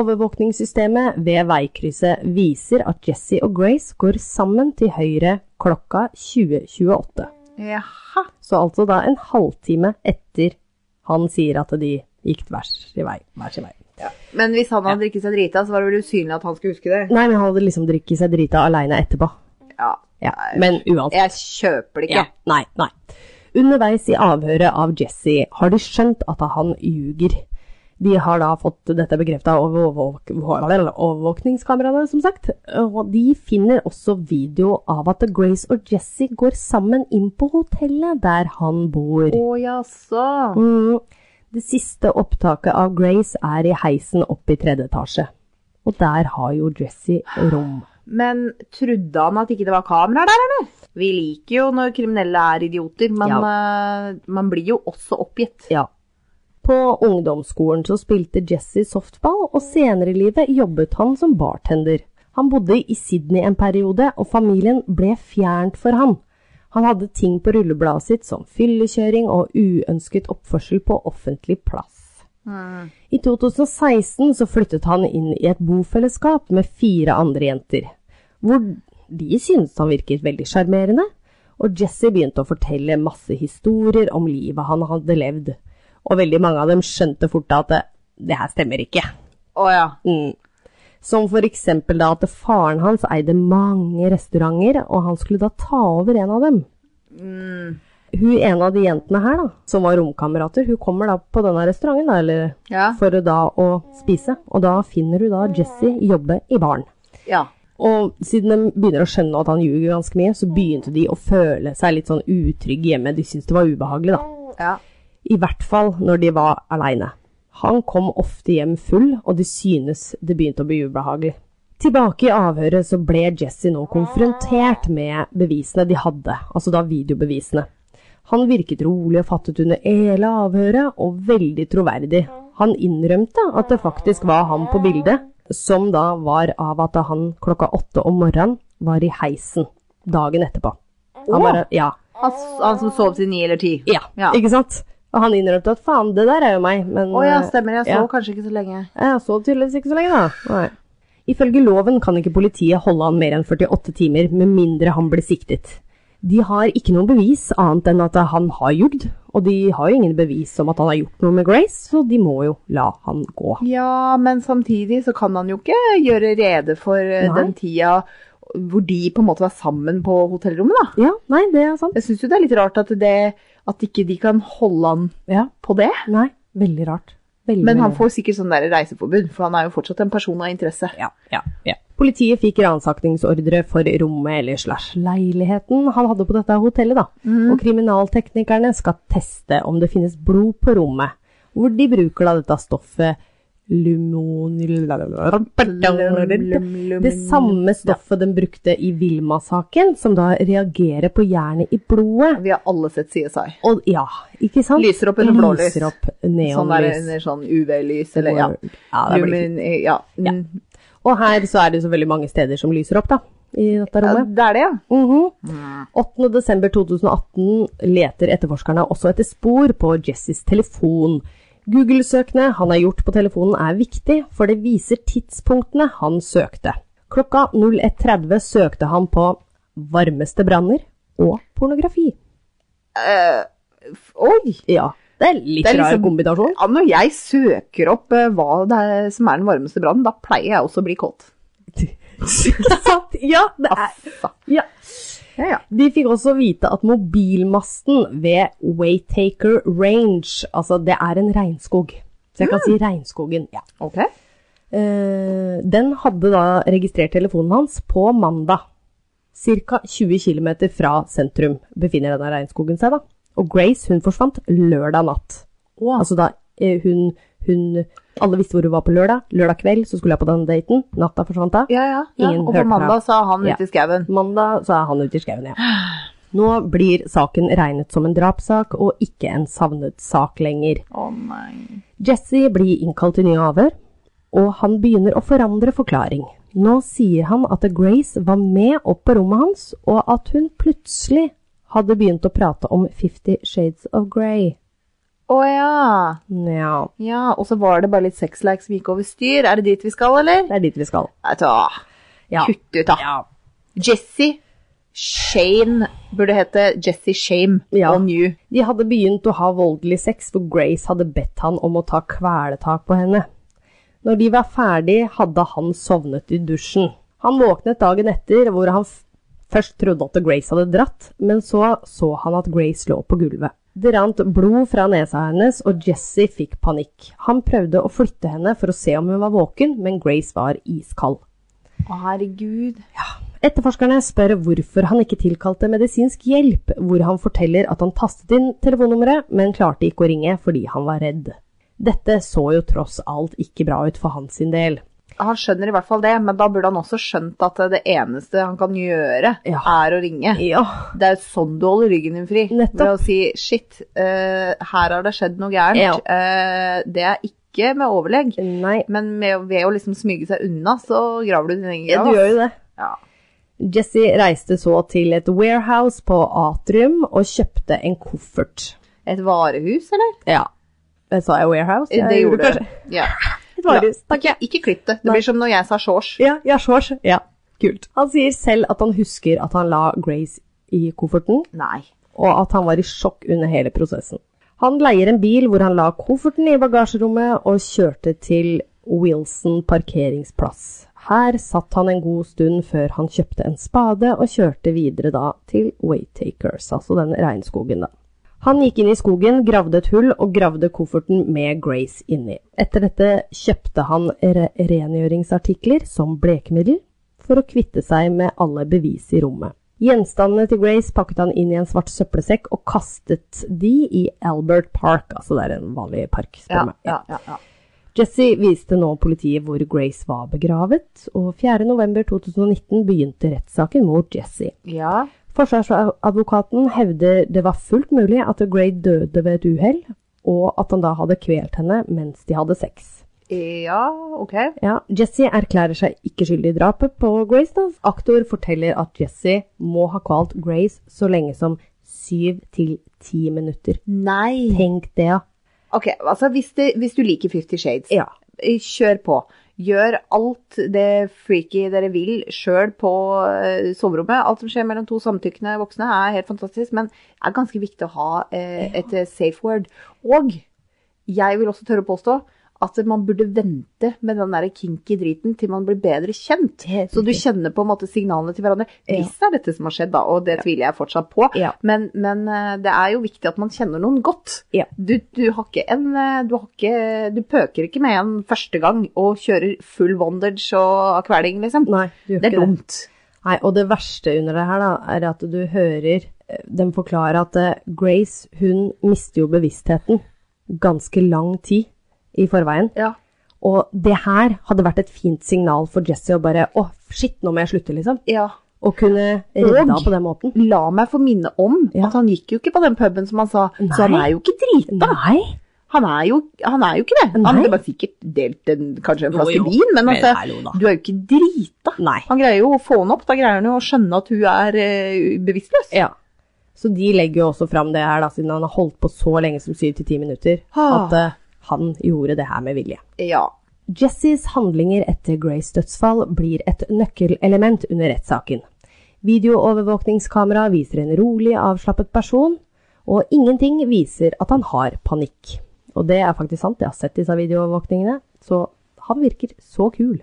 [SPEAKER 1] Videoovervåkningssystemet ved veikrysset viser at Jesse og Grace går sammen til høyre klokka 2028.
[SPEAKER 2] Jaha.
[SPEAKER 1] Så altså da en halvtime etter han sier at de gikk hver sin vei. Hver sin vei.
[SPEAKER 2] Men hvis han hadde drikket seg drita, så var det vel usynlig at han skulle huske det.
[SPEAKER 1] Nei, men han hadde liksom drukket seg drita aleine etterpå.
[SPEAKER 2] Ja.
[SPEAKER 1] Ja, men uansett.
[SPEAKER 2] Jeg kjøper det ikke.
[SPEAKER 1] Ja, nei, nei. Underveis i avhøret av Jesse har de skjønt at han ljuger. De har da fått dette bekrefta over overvåk- overvåkningskameraene, som sagt. Og de finner også video av at Grace og Jesse går sammen inn på hotellet der han bor.
[SPEAKER 2] Å jaså.
[SPEAKER 1] Mm. Det siste opptaket av Grace er i heisen opp i tredje etasje. Og der har jo Jesse rom.
[SPEAKER 2] Men trodde han at ikke det var kameraer der, eller? Vi liker jo når kriminelle er idioter, men eh, man blir jo også oppgitt.
[SPEAKER 1] Ja. På ungdomsskolen så spilte Jesse softball, og senere i livet jobbet han som bartender. Han bodde i Sydney en periode, og familien ble fjernt for han. Han hadde ting på rullebladet sitt som fyllekjøring og uønsket oppførsel på offentlig plass. I 2016 så flyttet han inn i et bofellesskap med fire andre jenter, hvor de syntes han virket veldig sjarmerende, og Jesse begynte å fortelle masse historier om livet han hadde levd, og veldig mange av dem skjønte fort at det, det her stemmer ikke.
[SPEAKER 2] Å ja.
[SPEAKER 1] Mm. Som for eksempel da at faren hans eide mange restauranter, og han skulle da ta over en av dem. Hun ene av de jentene her da, som var romkamerater, hun kommer da på denne restauranten da, eller
[SPEAKER 2] Ja.
[SPEAKER 1] for da å spise, og da finner hun da Jesse jobbe i baren.
[SPEAKER 2] ja.
[SPEAKER 1] Og siden de begynner å skjønne at han ljuger ganske mye, så begynte de å føle seg litt sånn utrygge hjemme. De syntes det var ubehagelig, da.
[SPEAKER 2] Ja.
[SPEAKER 1] I hvert fall når de var aleine. Han kom ofte hjem full, og de synes det begynte å bli ubehagelig. Tilbake i avhøret så ble Jesse nå konfrontert med bevisene de hadde, altså da videobevisene. Han virket rolig og fattet under hele avhøret, og veldig troverdig. Han innrømte at det faktisk var han på bildet, som da var av at han klokka åtte om morgenen var i heisen dagen etterpå. Han bare, ja,
[SPEAKER 2] Han, han som sov til ni eller ti.
[SPEAKER 1] ja,
[SPEAKER 2] Ja.
[SPEAKER 1] ikke sant? Og han innrømte at faen, det der er jo meg, men
[SPEAKER 2] Å ja,
[SPEAKER 1] eh,
[SPEAKER 2] stemmer. Jeg så
[SPEAKER 1] ja.
[SPEAKER 2] kanskje ikke så lenge.
[SPEAKER 1] Jeg så tydeligvis ikke så lenge, da. Nei. Ifølge loven kan ikke politiet holde han mer enn 48 timer, med mindre han blir siktet. De har ikke noe bevis annet enn at han har jugd, og de har jo ingen bevis om at han har gjort noe med Grace, så de må jo la han gå.
[SPEAKER 2] Ja, men samtidig så kan han jo ikke gjøre rede for eh,
[SPEAKER 1] Nei.
[SPEAKER 2] den tida hvor de på en måte var sammen på hotellrommet, da.
[SPEAKER 1] Ja, nei, det er sant.
[SPEAKER 2] Jeg syns jo det er litt rart at, det, at ikke de kan holde han
[SPEAKER 1] Ja,
[SPEAKER 2] på det.
[SPEAKER 1] nei, veldig rart. Veldig,
[SPEAKER 2] Men han
[SPEAKER 1] veldig rart.
[SPEAKER 2] får sikkert sånn der reiseforbud, for han er jo fortsatt en person av interesse.
[SPEAKER 1] Ja, ja, ja. Politiet fikk ransakningsordre for rommet eller slash leiligheten han hadde på dette hotellet, da.
[SPEAKER 2] Mhm.
[SPEAKER 1] Og kriminalteknikerne skal teste om det finnes blod på rommet, hvor de bruker da dette stoffet lumon... Det samme stoffet den brukte i Vilma-saken, som da reagerer på jernet i blodet.
[SPEAKER 2] Vi har alle sett CSI.
[SPEAKER 1] Og ja, ikke sant?
[SPEAKER 2] Lyser opp under blålys.
[SPEAKER 1] Lyser opp
[SPEAKER 2] Sånn der,
[SPEAKER 1] neonlys.
[SPEAKER 2] under sånn UV-lys, eller ja.
[SPEAKER 1] Ja, det blir fint.
[SPEAKER 2] Lumin, ja.
[SPEAKER 1] Ja.
[SPEAKER 2] Mm.
[SPEAKER 1] Og her så er det så veldig mange steder som lyser opp, da, i dette
[SPEAKER 2] ja.
[SPEAKER 1] rommet.
[SPEAKER 2] Det er det, ja.
[SPEAKER 1] Mhm. 8. desember 2018 leter etterforskerne også etter spor på Jessys telefon. Google-søkene han har gjort på telefonen er viktig, for det viser tidspunktene han søkte. Klokka 01.30 søkte han på varmeste branner og pornografi.
[SPEAKER 2] F- Oi!
[SPEAKER 1] Ja, det er litt
[SPEAKER 2] Det er
[SPEAKER 1] rar
[SPEAKER 2] liksom-
[SPEAKER 1] kombinasjon.
[SPEAKER 2] Ja, når jeg søker opp eh, hva det er som er den varmeste brannen, da pleier jeg også å bli kåt.
[SPEAKER 1] Ikke sant? Ja, det er
[SPEAKER 2] Altså.
[SPEAKER 1] ja.
[SPEAKER 2] Ja, ja.
[SPEAKER 1] De fikk også vite at mobilmasten ved Waytaker Range, altså det er en regnskog. Så jeg kan si regnskogen, ja.
[SPEAKER 2] Ok.
[SPEAKER 1] Eh, den hadde da registrert telefonen hans på mandag. Cirka 20 km fra sentrum befinner denne regnskogen seg da. Og Grace, hun forsvant lørdag natt. Altså da eh, hun, hun, alle visste hvor hun var på lørdag. Lørdag kveld så skulle jeg på den daten. Natta forsvant hun.
[SPEAKER 2] Ja, ja. ja.
[SPEAKER 1] Ingen
[SPEAKER 2] Og
[SPEAKER 1] hørte
[SPEAKER 2] på
[SPEAKER 1] fra.
[SPEAKER 2] mandag sa han
[SPEAKER 1] Ja.
[SPEAKER 2] ute i skauen.
[SPEAKER 1] Mandag så er han ute i skauen, ja. Nå blir saken regnet som en drapssak og ikke en savnet sak lenger.
[SPEAKER 2] Å nei.
[SPEAKER 1] Jesse blir innkalt til nye avhør, og han begynner å forandre forklaring. Nå sier han at Grace var med opp på rommet hans, og at hun plutselig hadde begynt å prate om Fifty Shades of Grey.
[SPEAKER 2] Å ja.
[SPEAKER 1] Nja,
[SPEAKER 2] Ja, og så var det bare litt sexlike som gikk over styr. Er det dit vi skal, eller?
[SPEAKER 1] det er dit vi skal.
[SPEAKER 2] Vet du hva.
[SPEAKER 1] Ja.
[SPEAKER 2] Kutt ut, da.
[SPEAKER 1] Ja.
[SPEAKER 2] Jesse Shane burde hete Jesse Shame
[SPEAKER 1] Ja.
[SPEAKER 2] on you.
[SPEAKER 1] De hadde begynt å ha voldelig sex, for Grace hadde bedt han om å ta kveletak på henne. Når de var ferdig, hadde han sovnet i dusjen. Han våknet dagen etter, hvor han f- først trodde at Grace hadde dratt, men så så han at Grace lå på gulvet. Det rant blod fra nesa hennes, og Jesse fikk panikk. Han prøvde å flytte henne for å se om hun var våken, men Grace var iskald.
[SPEAKER 2] Å, herregud.
[SPEAKER 1] Etterforskerne spør hvorfor han ikke tilkalte medisinsk hjelp, hvor han forteller at han tastet inn telefonnummeret, men klarte ikke å ringe fordi han var redd. Dette så jo tross alt ikke bra ut for hans sin del.
[SPEAKER 2] Han skjønner i hvert fall det, men da burde han også skjønt at det eneste han kan gjøre,
[SPEAKER 1] Ja.
[SPEAKER 2] er å ringe.
[SPEAKER 1] Ja,
[SPEAKER 2] Det er sånn du holder ryggen din fri.
[SPEAKER 1] Nettopp.
[SPEAKER 2] Ved å si shit, eh, her har det skjedd noe gærent.
[SPEAKER 1] Ja.
[SPEAKER 2] Eh, det er ikke med overlegg,
[SPEAKER 1] nei,
[SPEAKER 2] men med, ved å liksom smyge seg unna, så graver du din egen
[SPEAKER 1] du
[SPEAKER 2] grav.
[SPEAKER 1] gjør jo det.
[SPEAKER 2] Ja.
[SPEAKER 1] Jesse reiste så til et warehouse på Atrium og kjøpte en koffert.
[SPEAKER 2] Et varehus, eller?
[SPEAKER 1] Ja, jeg sa jeg warehouse? Jeg
[SPEAKER 2] det gjorde du.
[SPEAKER 1] kanskje.
[SPEAKER 2] Ja.
[SPEAKER 1] Et varehus, takk.
[SPEAKER 2] Ikke, ikke klipp det. Det
[SPEAKER 1] Nei.
[SPEAKER 2] blir som når jeg sa shorts.
[SPEAKER 1] Ja, ja, shorts. Ja, kult. Han sier selv at han husker at han la Grace i kofferten,
[SPEAKER 2] Nei.
[SPEAKER 1] og at han var i sjokk under hele prosessen. Han leier en bil hvor han la kofferten i bagasjerommet og kjørte til Wilson parkeringsplass. Her satt han en god stund før han kjøpte en spade og kjørte videre da til Waytakers, altså den regnskogen da. Han gikk inn i skogen, gravde et hull og gravde kofferten med Grace inni. Etter dette kjøpte han re rengjøringsartikler som blekemiddel for å kvitte seg med alle bevis i rommet. Gjenstandene til Grace pakket han inn i en svart søppelsekk og kastet de i Albert Park, altså det er en vanlig park. spør
[SPEAKER 2] Ja,
[SPEAKER 1] meg.
[SPEAKER 2] ja, ja, ja.
[SPEAKER 1] Jesse viste nå politiet hvor Grace var begravet, og 4.11.2019 begynte rettssaken mot Jesse.
[SPEAKER 2] ja.
[SPEAKER 1] Forsvarsadvokaten hevder det var fullt mulig at Gray døde ved et uhell, og at han da hadde kvelt henne mens de hadde sex.
[SPEAKER 2] Ja, ok.
[SPEAKER 1] Ja, Jesse erklærer seg ikke skyldig i drapet på Grace. Da. Aktor forteller at Jesse må ha kvalt Grace så lenge som syv til ti minutter.
[SPEAKER 2] Nei.
[SPEAKER 1] Tenk det, ja.
[SPEAKER 2] Ok, altså hvis, det, hvis du liker Fifty Shades,
[SPEAKER 1] Ja.
[SPEAKER 2] eh, kjør på. Gjør alt det freaky dere vil sjøl på eh, soverommet. Alt som skjer mellom to samtykkende voksne er helt fantastisk, men det er ganske viktig å ha eh, et eh, safe word. Og jeg vil også tørre å påstå at man burde vente med den der kinky driten til man blir bedre kjent.
[SPEAKER 1] Helt
[SPEAKER 2] Så du kjenner på en måte signalene til hverandre. Hvis det er dette som har skjedd, da, og det tviler jeg fortsatt på,
[SPEAKER 1] Ja.
[SPEAKER 2] men, men eh, det er jo viktig at man kjenner noen godt.
[SPEAKER 1] Ja.
[SPEAKER 2] Du, du har ikke en eh, du, har ikke, du pøker ikke med en første gang og kjører full bondage og kveling, liksom.
[SPEAKER 1] Nei, du gjør
[SPEAKER 2] det er
[SPEAKER 1] ikke det.
[SPEAKER 2] dumt.
[SPEAKER 1] Nei, og det verste under det her da, er at du hører eh, dem forklare at eh, Grace, hun mister jo bevisstheten ganske lang tid i forveien.
[SPEAKER 2] Ja.
[SPEAKER 1] Og det her hadde vært et fint signal for Jesse å bare Å, shit, nå må jeg slutte, liksom.
[SPEAKER 2] Ja.
[SPEAKER 1] Og kunne redde
[SPEAKER 2] Og-
[SPEAKER 1] henne på den måten.
[SPEAKER 2] La meg få minne om
[SPEAKER 1] Ja.
[SPEAKER 2] at han gikk jo ikke på den puben som han sa, så han
[SPEAKER 1] Nei.
[SPEAKER 2] er jo ikke drita.
[SPEAKER 1] Nei.
[SPEAKER 2] Han er jo, han er jo ikke det. Han
[SPEAKER 1] Nei.
[SPEAKER 2] hadde bare sikkert delt en, kanskje en flaske
[SPEAKER 1] Jo, jo.
[SPEAKER 2] vin, men
[SPEAKER 1] Men
[SPEAKER 2] altså,
[SPEAKER 1] hallo da.
[SPEAKER 2] du er jo ikke drita.
[SPEAKER 1] Nei.
[SPEAKER 2] Han greier jo å få henne opp, da greier han jo å skjønne at hun er eh, bevisstløs.
[SPEAKER 1] Ja. Så de legger jo også fram det her, da, siden han har holdt på så lenge som syv til ti minutter,
[SPEAKER 2] Ah.
[SPEAKER 1] at eh, han gjorde det her med vilje.
[SPEAKER 2] Ja.
[SPEAKER 1] Jessies handlinger etter Grays dødsfall blir et nøkkelelement under rettssaken. Videoovervåkningskamera viser en rolig, avslappet person, og ingenting viser at han har panikk. Og det er faktisk sant, jeg har sett disse videoovervåkningene, så han virker så kul.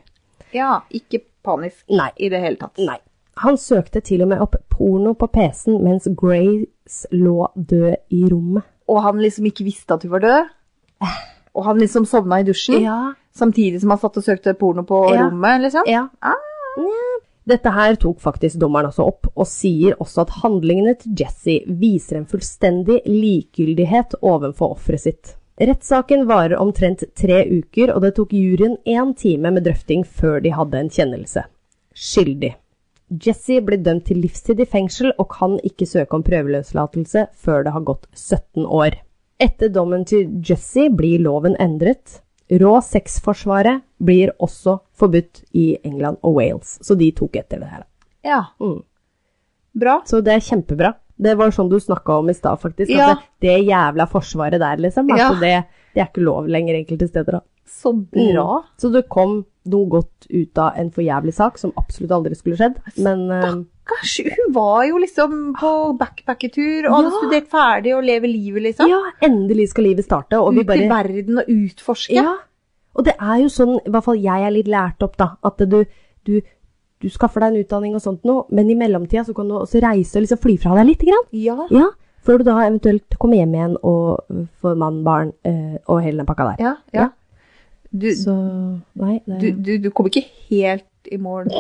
[SPEAKER 2] ja. Ikke panisk
[SPEAKER 1] Nei.
[SPEAKER 2] i det hele tatt.
[SPEAKER 1] Nei. Han søkte til og med opp porno på PC-en mens Grace lå død i rommet.
[SPEAKER 2] Og han liksom ikke visste at hun var død. Og han liksom sovna i dusjen,
[SPEAKER 1] Ja,
[SPEAKER 2] samtidig som han satt og søkte porno på
[SPEAKER 1] Ja.
[SPEAKER 2] rommet, liksom.
[SPEAKER 1] ja.
[SPEAKER 2] Ah.
[SPEAKER 1] Nja. Dette her tok faktisk dommeren også opp, og sier også at handlingene til Jesse viser en fullstendig likegyldighet ovenfor offeret sitt. Rettssaken varer omtrent tre uker, og det tok juryen én time med drøfting før de hadde en kjennelse. Skyldig. Jesse blir dømt til livstid i fengsel og kan ikke søke om prøveløslatelse før det har gått 17 år. Etter dommen til Jesse blir loven endret. Rå sex-forsvaret blir også forbudt i England og Wales, så de tok etter det her.
[SPEAKER 2] Ja.
[SPEAKER 1] Mm.
[SPEAKER 2] Bra.
[SPEAKER 1] Så det er kjempebra. Det var sånn du snakka om i stad, faktisk.
[SPEAKER 2] Ja.
[SPEAKER 1] At det, det jævla forsvaret der, liksom.
[SPEAKER 2] Ja.
[SPEAKER 1] Altså det, det er ikke lov lenger enkelte steder. Da.
[SPEAKER 2] Så bra.
[SPEAKER 1] Mm. Så det kom noe godt ut av en for jævlig sak som absolutt aldri skulle skjedd. Men eh,
[SPEAKER 2] Stakkars, hun var jo liksom på backpackertur og hadde
[SPEAKER 1] Ja.
[SPEAKER 2] studert ferdig og lever livet, liksom.
[SPEAKER 1] ja, endelig skal livet starte, og vi
[SPEAKER 2] Ut i
[SPEAKER 1] bare
[SPEAKER 2] verden og utforske.
[SPEAKER 1] Ja. Og det er jo sånn, i hvert fall jeg er litt lært opp, da, at du, du, du skaffer deg en utdanning og sånt noe, men i mellomtida så kan du også reise og liksom fly fra deg litt. Grann.
[SPEAKER 2] Ja.
[SPEAKER 1] Ja, før du da eventuelt kommer hjem igjen og øh, får mann, barn øh, og hele den pakka der.
[SPEAKER 2] ja, ja. Du,
[SPEAKER 1] Så nei,
[SPEAKER 2] du,
[SPEAKER 1] det
[SPEAKER 2] du, du kom ikke helt i mål.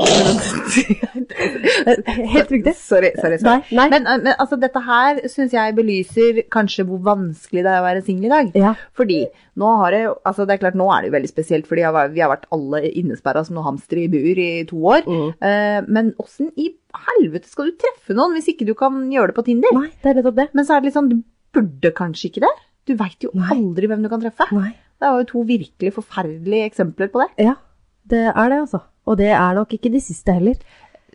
[SPEAKER 1] Helt riktig.
[SPEAKER 2] Sorry, sorry. sorry.
[SPEAKER 1] Nei, nei.
[SPEAKER 2] Men, eh, men altså, dette her syns jeg belyser kanskje hvor vanskelig det er å være singel i dag.
[SPEAKER 1] Ja.
[SPEAKER 2] Fordi nå har det, jo- altså det er klart, nå er det jo veldig spesielt, fordi jeg har- vi har vært alle innesperra som noen hamstere i bur i to år.
[SPEAKER 1] Mm.
[SPEAKER 2] Eh, men åssen i helvete skal du treffe noen hvis ikke du kan gjøre det på Tinder?
[SPEAKER 1] Nei, det er nettopp det.
[SPEAKER 2] Men så er det litt sånn, du burde kanskje ikke det? Du veit jo
[SPEAKER 1] Nei.
[SPEAKER 2] aldri hvem du kan treffe.
[SPEAKER 1] Nei.
[SPEAKER 2] Det var jo to virkelig forferdelige eksempler på det.
[SPEAKER 1] Ja, det er det, altså. Og det er nok ikke de siste heller,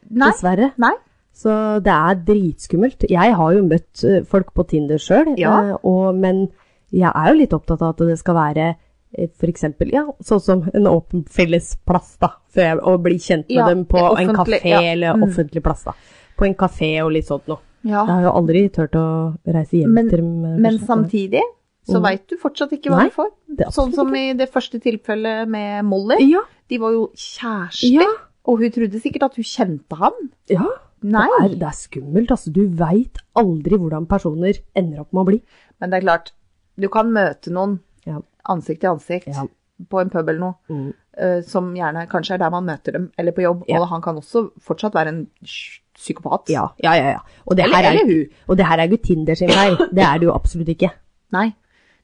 [SPEAKER 2] Nei.
[SPEAKER 1] dessverre.
[SPEAKER 2] Nei.
[SPEAKER 1] Så det er dritskummelt. Jeg har jo møtt eh, folk på Tinder sjøl,
[SPEAKER 2] Ja.
[SPEAKER 1] men jeg er jo litt opptatt av at det skal være f.eks. Ja, sånn som en åpen felles plass, da. For jeg, å bli kjent med
[SPEAKER 2] Ja,
[SPEAKER 1] dem på
[SPEAKER 2] det
[SPEAKER 1] en
[SPEAKER 2] offentlige,
[SPEAKER 1] kafé
[SPEAKER 2] ja.
[SPEAKER 1] eller
[SPEAKER 2] Mm.
[SPEAKER 1] offentlig plass, da. På en kafé og litt sånt noe.
[SPEAKER 2] Ja.
[SPEAKER 1] Jeg har jo aldri turt å reise hjem
[SPEAKER 2] Men-
[SPEAKER 1] til dem. eh,
[SPEAKER 2] Men
[SPEAKER 1] først.
[SPEAKER 2] samtidig så
[SPEAKER 1] Mm.
[SPEAKER 2] veit du fortsatt ikke hva
[SPEAKER 1] Nei,
[SPEAKER 2] du får.
[SPEAKER 1] det er
[SPEAKER 2] Sånn
[SPEAKER 1] absolutt
[SPEAKER 2] som i det første tilfellet med Molly.
[SPEAKER 1] Ja.
[SPEAKER 2] De var jo kjærester,
[SPEAKER 1] ja.
[SPEAKER 2] og hun trodde sikkert at hun kjente ham.
[SPEAKER 1] ja.
[SPEAKER 2] Nei.
[SPEAKER 1] Det, er, det er skummelt, altså. Du veit aldri hvordan personer ender opp med å bli.
[SPEAKER 2] Men det er klart, du kan møte noen
[SPEAKER 1] Ja.
[SPEAKER 2] ansikt til ansikt
[SPEAKER 1] Ja.
[SPEAKER 2] på en pub eller noe,
[SPEAKER 1] Mm.
[SPEAKER 2] eh, som gjerne kanskje er der man møter dem, eller på jobb.
[SPEAKER 1] Ja.
[SPEAKER 2] Og han kan også fortsatt være en sj- psykopat.
[SPEAKER 1] Ja, ja, ja. ja. Og, det
[SPEAKER 2] Eller,
[SPEAKER 1] her er,
[SPEAKER 2] eller hun.
[SPEAKER 1] og det her er jo ikke Tinder sin feil. Det er det jo absolutt ikke.
[SPEAKER 2] Nei.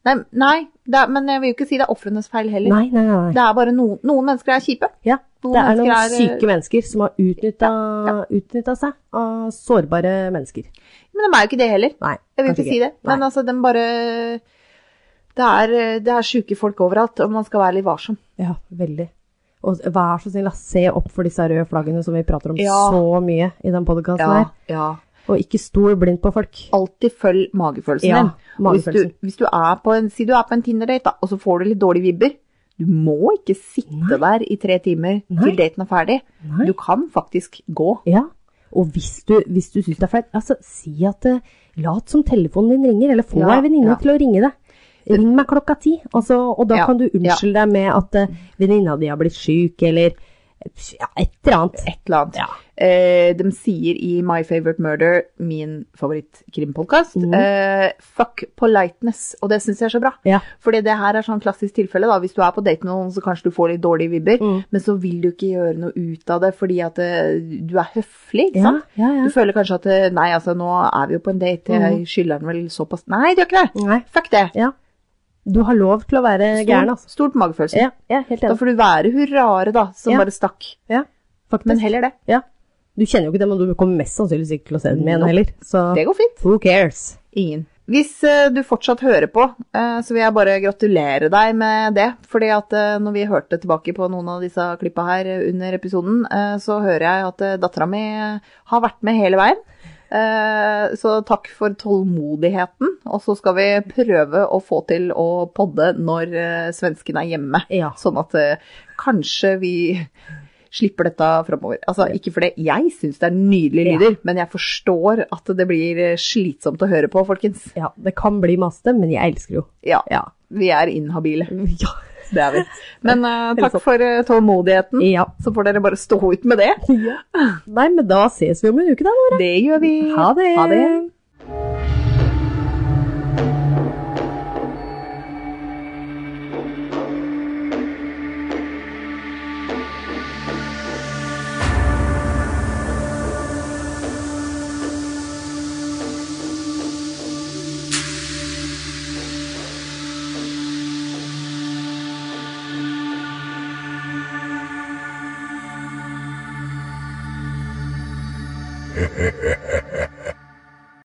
[SPEAKER 2] Nei, nei det er, men jeg vil jo ikke si det er ofrenes feil heller.
[SPEAKER 1] Nei, nei, nei. nei.
[SPEAKER 2] Det er bare noen, noen mennesker er kjipe.
[SPEAKER 1] Ja,
[SPEAKER 2] Noen
[SPEAKER 1] det er noen
[SPEAKER 2] mennesker er, eh,
[SPEAKER 1] syke mennesker som har utnytta seg av sårbare mennesker.
[SPEAKER 2] Men de er jo ikke det heller.
[SPEAKER 1] Nei,
[SPEAKER 2] Jeg vil ikke si det. Men altså, den bare Det er, eh, det er sjuke folk overalt, og man skal være litt varsom.
[SPEAKER 1] Ja, veldig. Og vær så snill, da, se opp for disse røde flaggene som vi prater om
[SPEAKER 2] Ja.
[SPEAKER 1] så mye i den podkasten her.
[SPEAKER 2] ja.
[SPEAKER 1] Og ikke stol blindt på folk.
[SPEAKER 2] Alltid følg magefølelsen
[SPEAKER 1] Ja,
[SPEAKER 2] din. Og Hvis du,
[SPEAKER 1] magefølelsen.
[SPEAKER 2] hvis du er på en, si du er på en Tinder-date, da, og så får du litt dårlige vibber. Du må ikke sitte der i tre timer
[SPEAKER 1] Nei.
[SPEAKER 2] til daten er ferdig.
[SPEAKER 1] Nei.
[SPEAKER 2] Du kan faktisk gå.
[SPEAKER 1] Ja, og hvis du, hvis du syns det er flaut, altså si at eh, lat som telefonen din ringer, eller få
[SPEAKER 2] Ja,
[SPEAKER 1] ei venninne
[SPEAKER 2] ja.
[SPEAKER 1] til å ringe deg. Ring meg klokka ti, altså, og da
[SPEAKER 2] Ja,
[SPEAKER 1] kan du unnskylde deg med at eh, venninna di har blitt syk, eller eh, ja, et eller annet.
[SPEAKER 2] Et eller annet.
[SPEAKER 1] Ja.
[SPEAKER 2] Eh, de sier i My Favorite Murder, min favorittkrimpodkast,
[SPEAKER 1] Mhm.
[SPEAKER 2] eh, fuck politeness. Og det syns jeg er så bra.
[SPEAKER 1] Ja.
[SPEAKER 2] Fordi det her er sånn klassisk tilfelle, da. Hvis du er på date med noen, så kanskje du får litt dårlige vibber,
[SPEAKER 1] Mm.
[SPEAKER 2] men så vil du ikke gjøre noe ut av det fordi at eh, du er høflig, ikke
[SPEAKER 1] Ja,
[SPEAKER 2] sant?
[SPEAKER 1] ja, ja. Mhm.
[SPEAKER 2] Du føler kanskje at eh, Nei, altså, nå er vi jo på en date, jeg skylder den vel såpass Nei, du gjør ikke det!
[SPEAKER 1] Nei.
[SPEAKER 2] Fuck det!
[SPEAKER 1] Ja. Du har lov til å være gæren, altså.
[SPEAKER 2] Stort på magefølelse.
[SPEAKER 1] Ja, jeg er helt
[SPEAKER 2] Da
[SPEAKER 1] enig.
[SPEAKER 2] får du være hun rare, da, som
[SPEAKER 1] Ja.
[SPEAKER 2] bare stakk.
[SPEAKER 1] Ja, faktisk.
[SPEAKER 2] Men heller det.
[SPEAKER 1] Ja. Du kjenner jo ikke dem, og du kommer mest sannsynligvis ikke til å se dem igjen
[SPEAKER 2] Nope.
[SPEAKER 1] heller. Så
[SPEAKER 2] Det går fint.
[SPEAKER 1] who cares?
[SPEAKER 2] Ingen. Hvis eh, du fortsatt hører på, eh, så vil jeg bare gratulere deg med det. Fordi at eh, når vi hørte tilbake på noen av disse klippa her eh, under episoden, eh, så hører jeg at eh, dattera mi eh, har vært med hele veien. Eh, Så takk for tålmodigheten. Og så skal vi prøve å få til å podde når eh, svensken er hjemme.
[SPEAKER 1] Ja.
[SPEAKER 2] Sånn at eh, kanskje vi slipper dette framover. Altså, ikke fordi jeg syns det er nydelige
[SPEAKER 1] Ja.
[SPEAKER 2] lyder, men jeg forstår at det blir eh, slitsomt å høre på, folkens.
[SPEAKER 1] Ja, det kan bli maste, men jeg elsker jo.
[SPEAKER 2] Ja,
[SPEAKER 1] Ja.
[SPEAKER 2] vi er inhabile.
[SPEAKER 1] Ja.
[SPEAKER 2] Det er vi. Men eh,
[SPEAKER 1] Eller
[SPEAKER 2] takk
[SPEAKER 1] sånn.
[SPEAKER 2] for eh, tålmodigheten.
[SPEAKER 1] ja.
[SPEAKER 2] Så får dere bare stå ut med det.
[SPEAKER 1] Nei, men da ses vi om en uke, da, Nora.
[SPEAKER 2] Det gjør vi.
[SPEAKER 1] Ha det.
[SPEAKER 2] Ha det.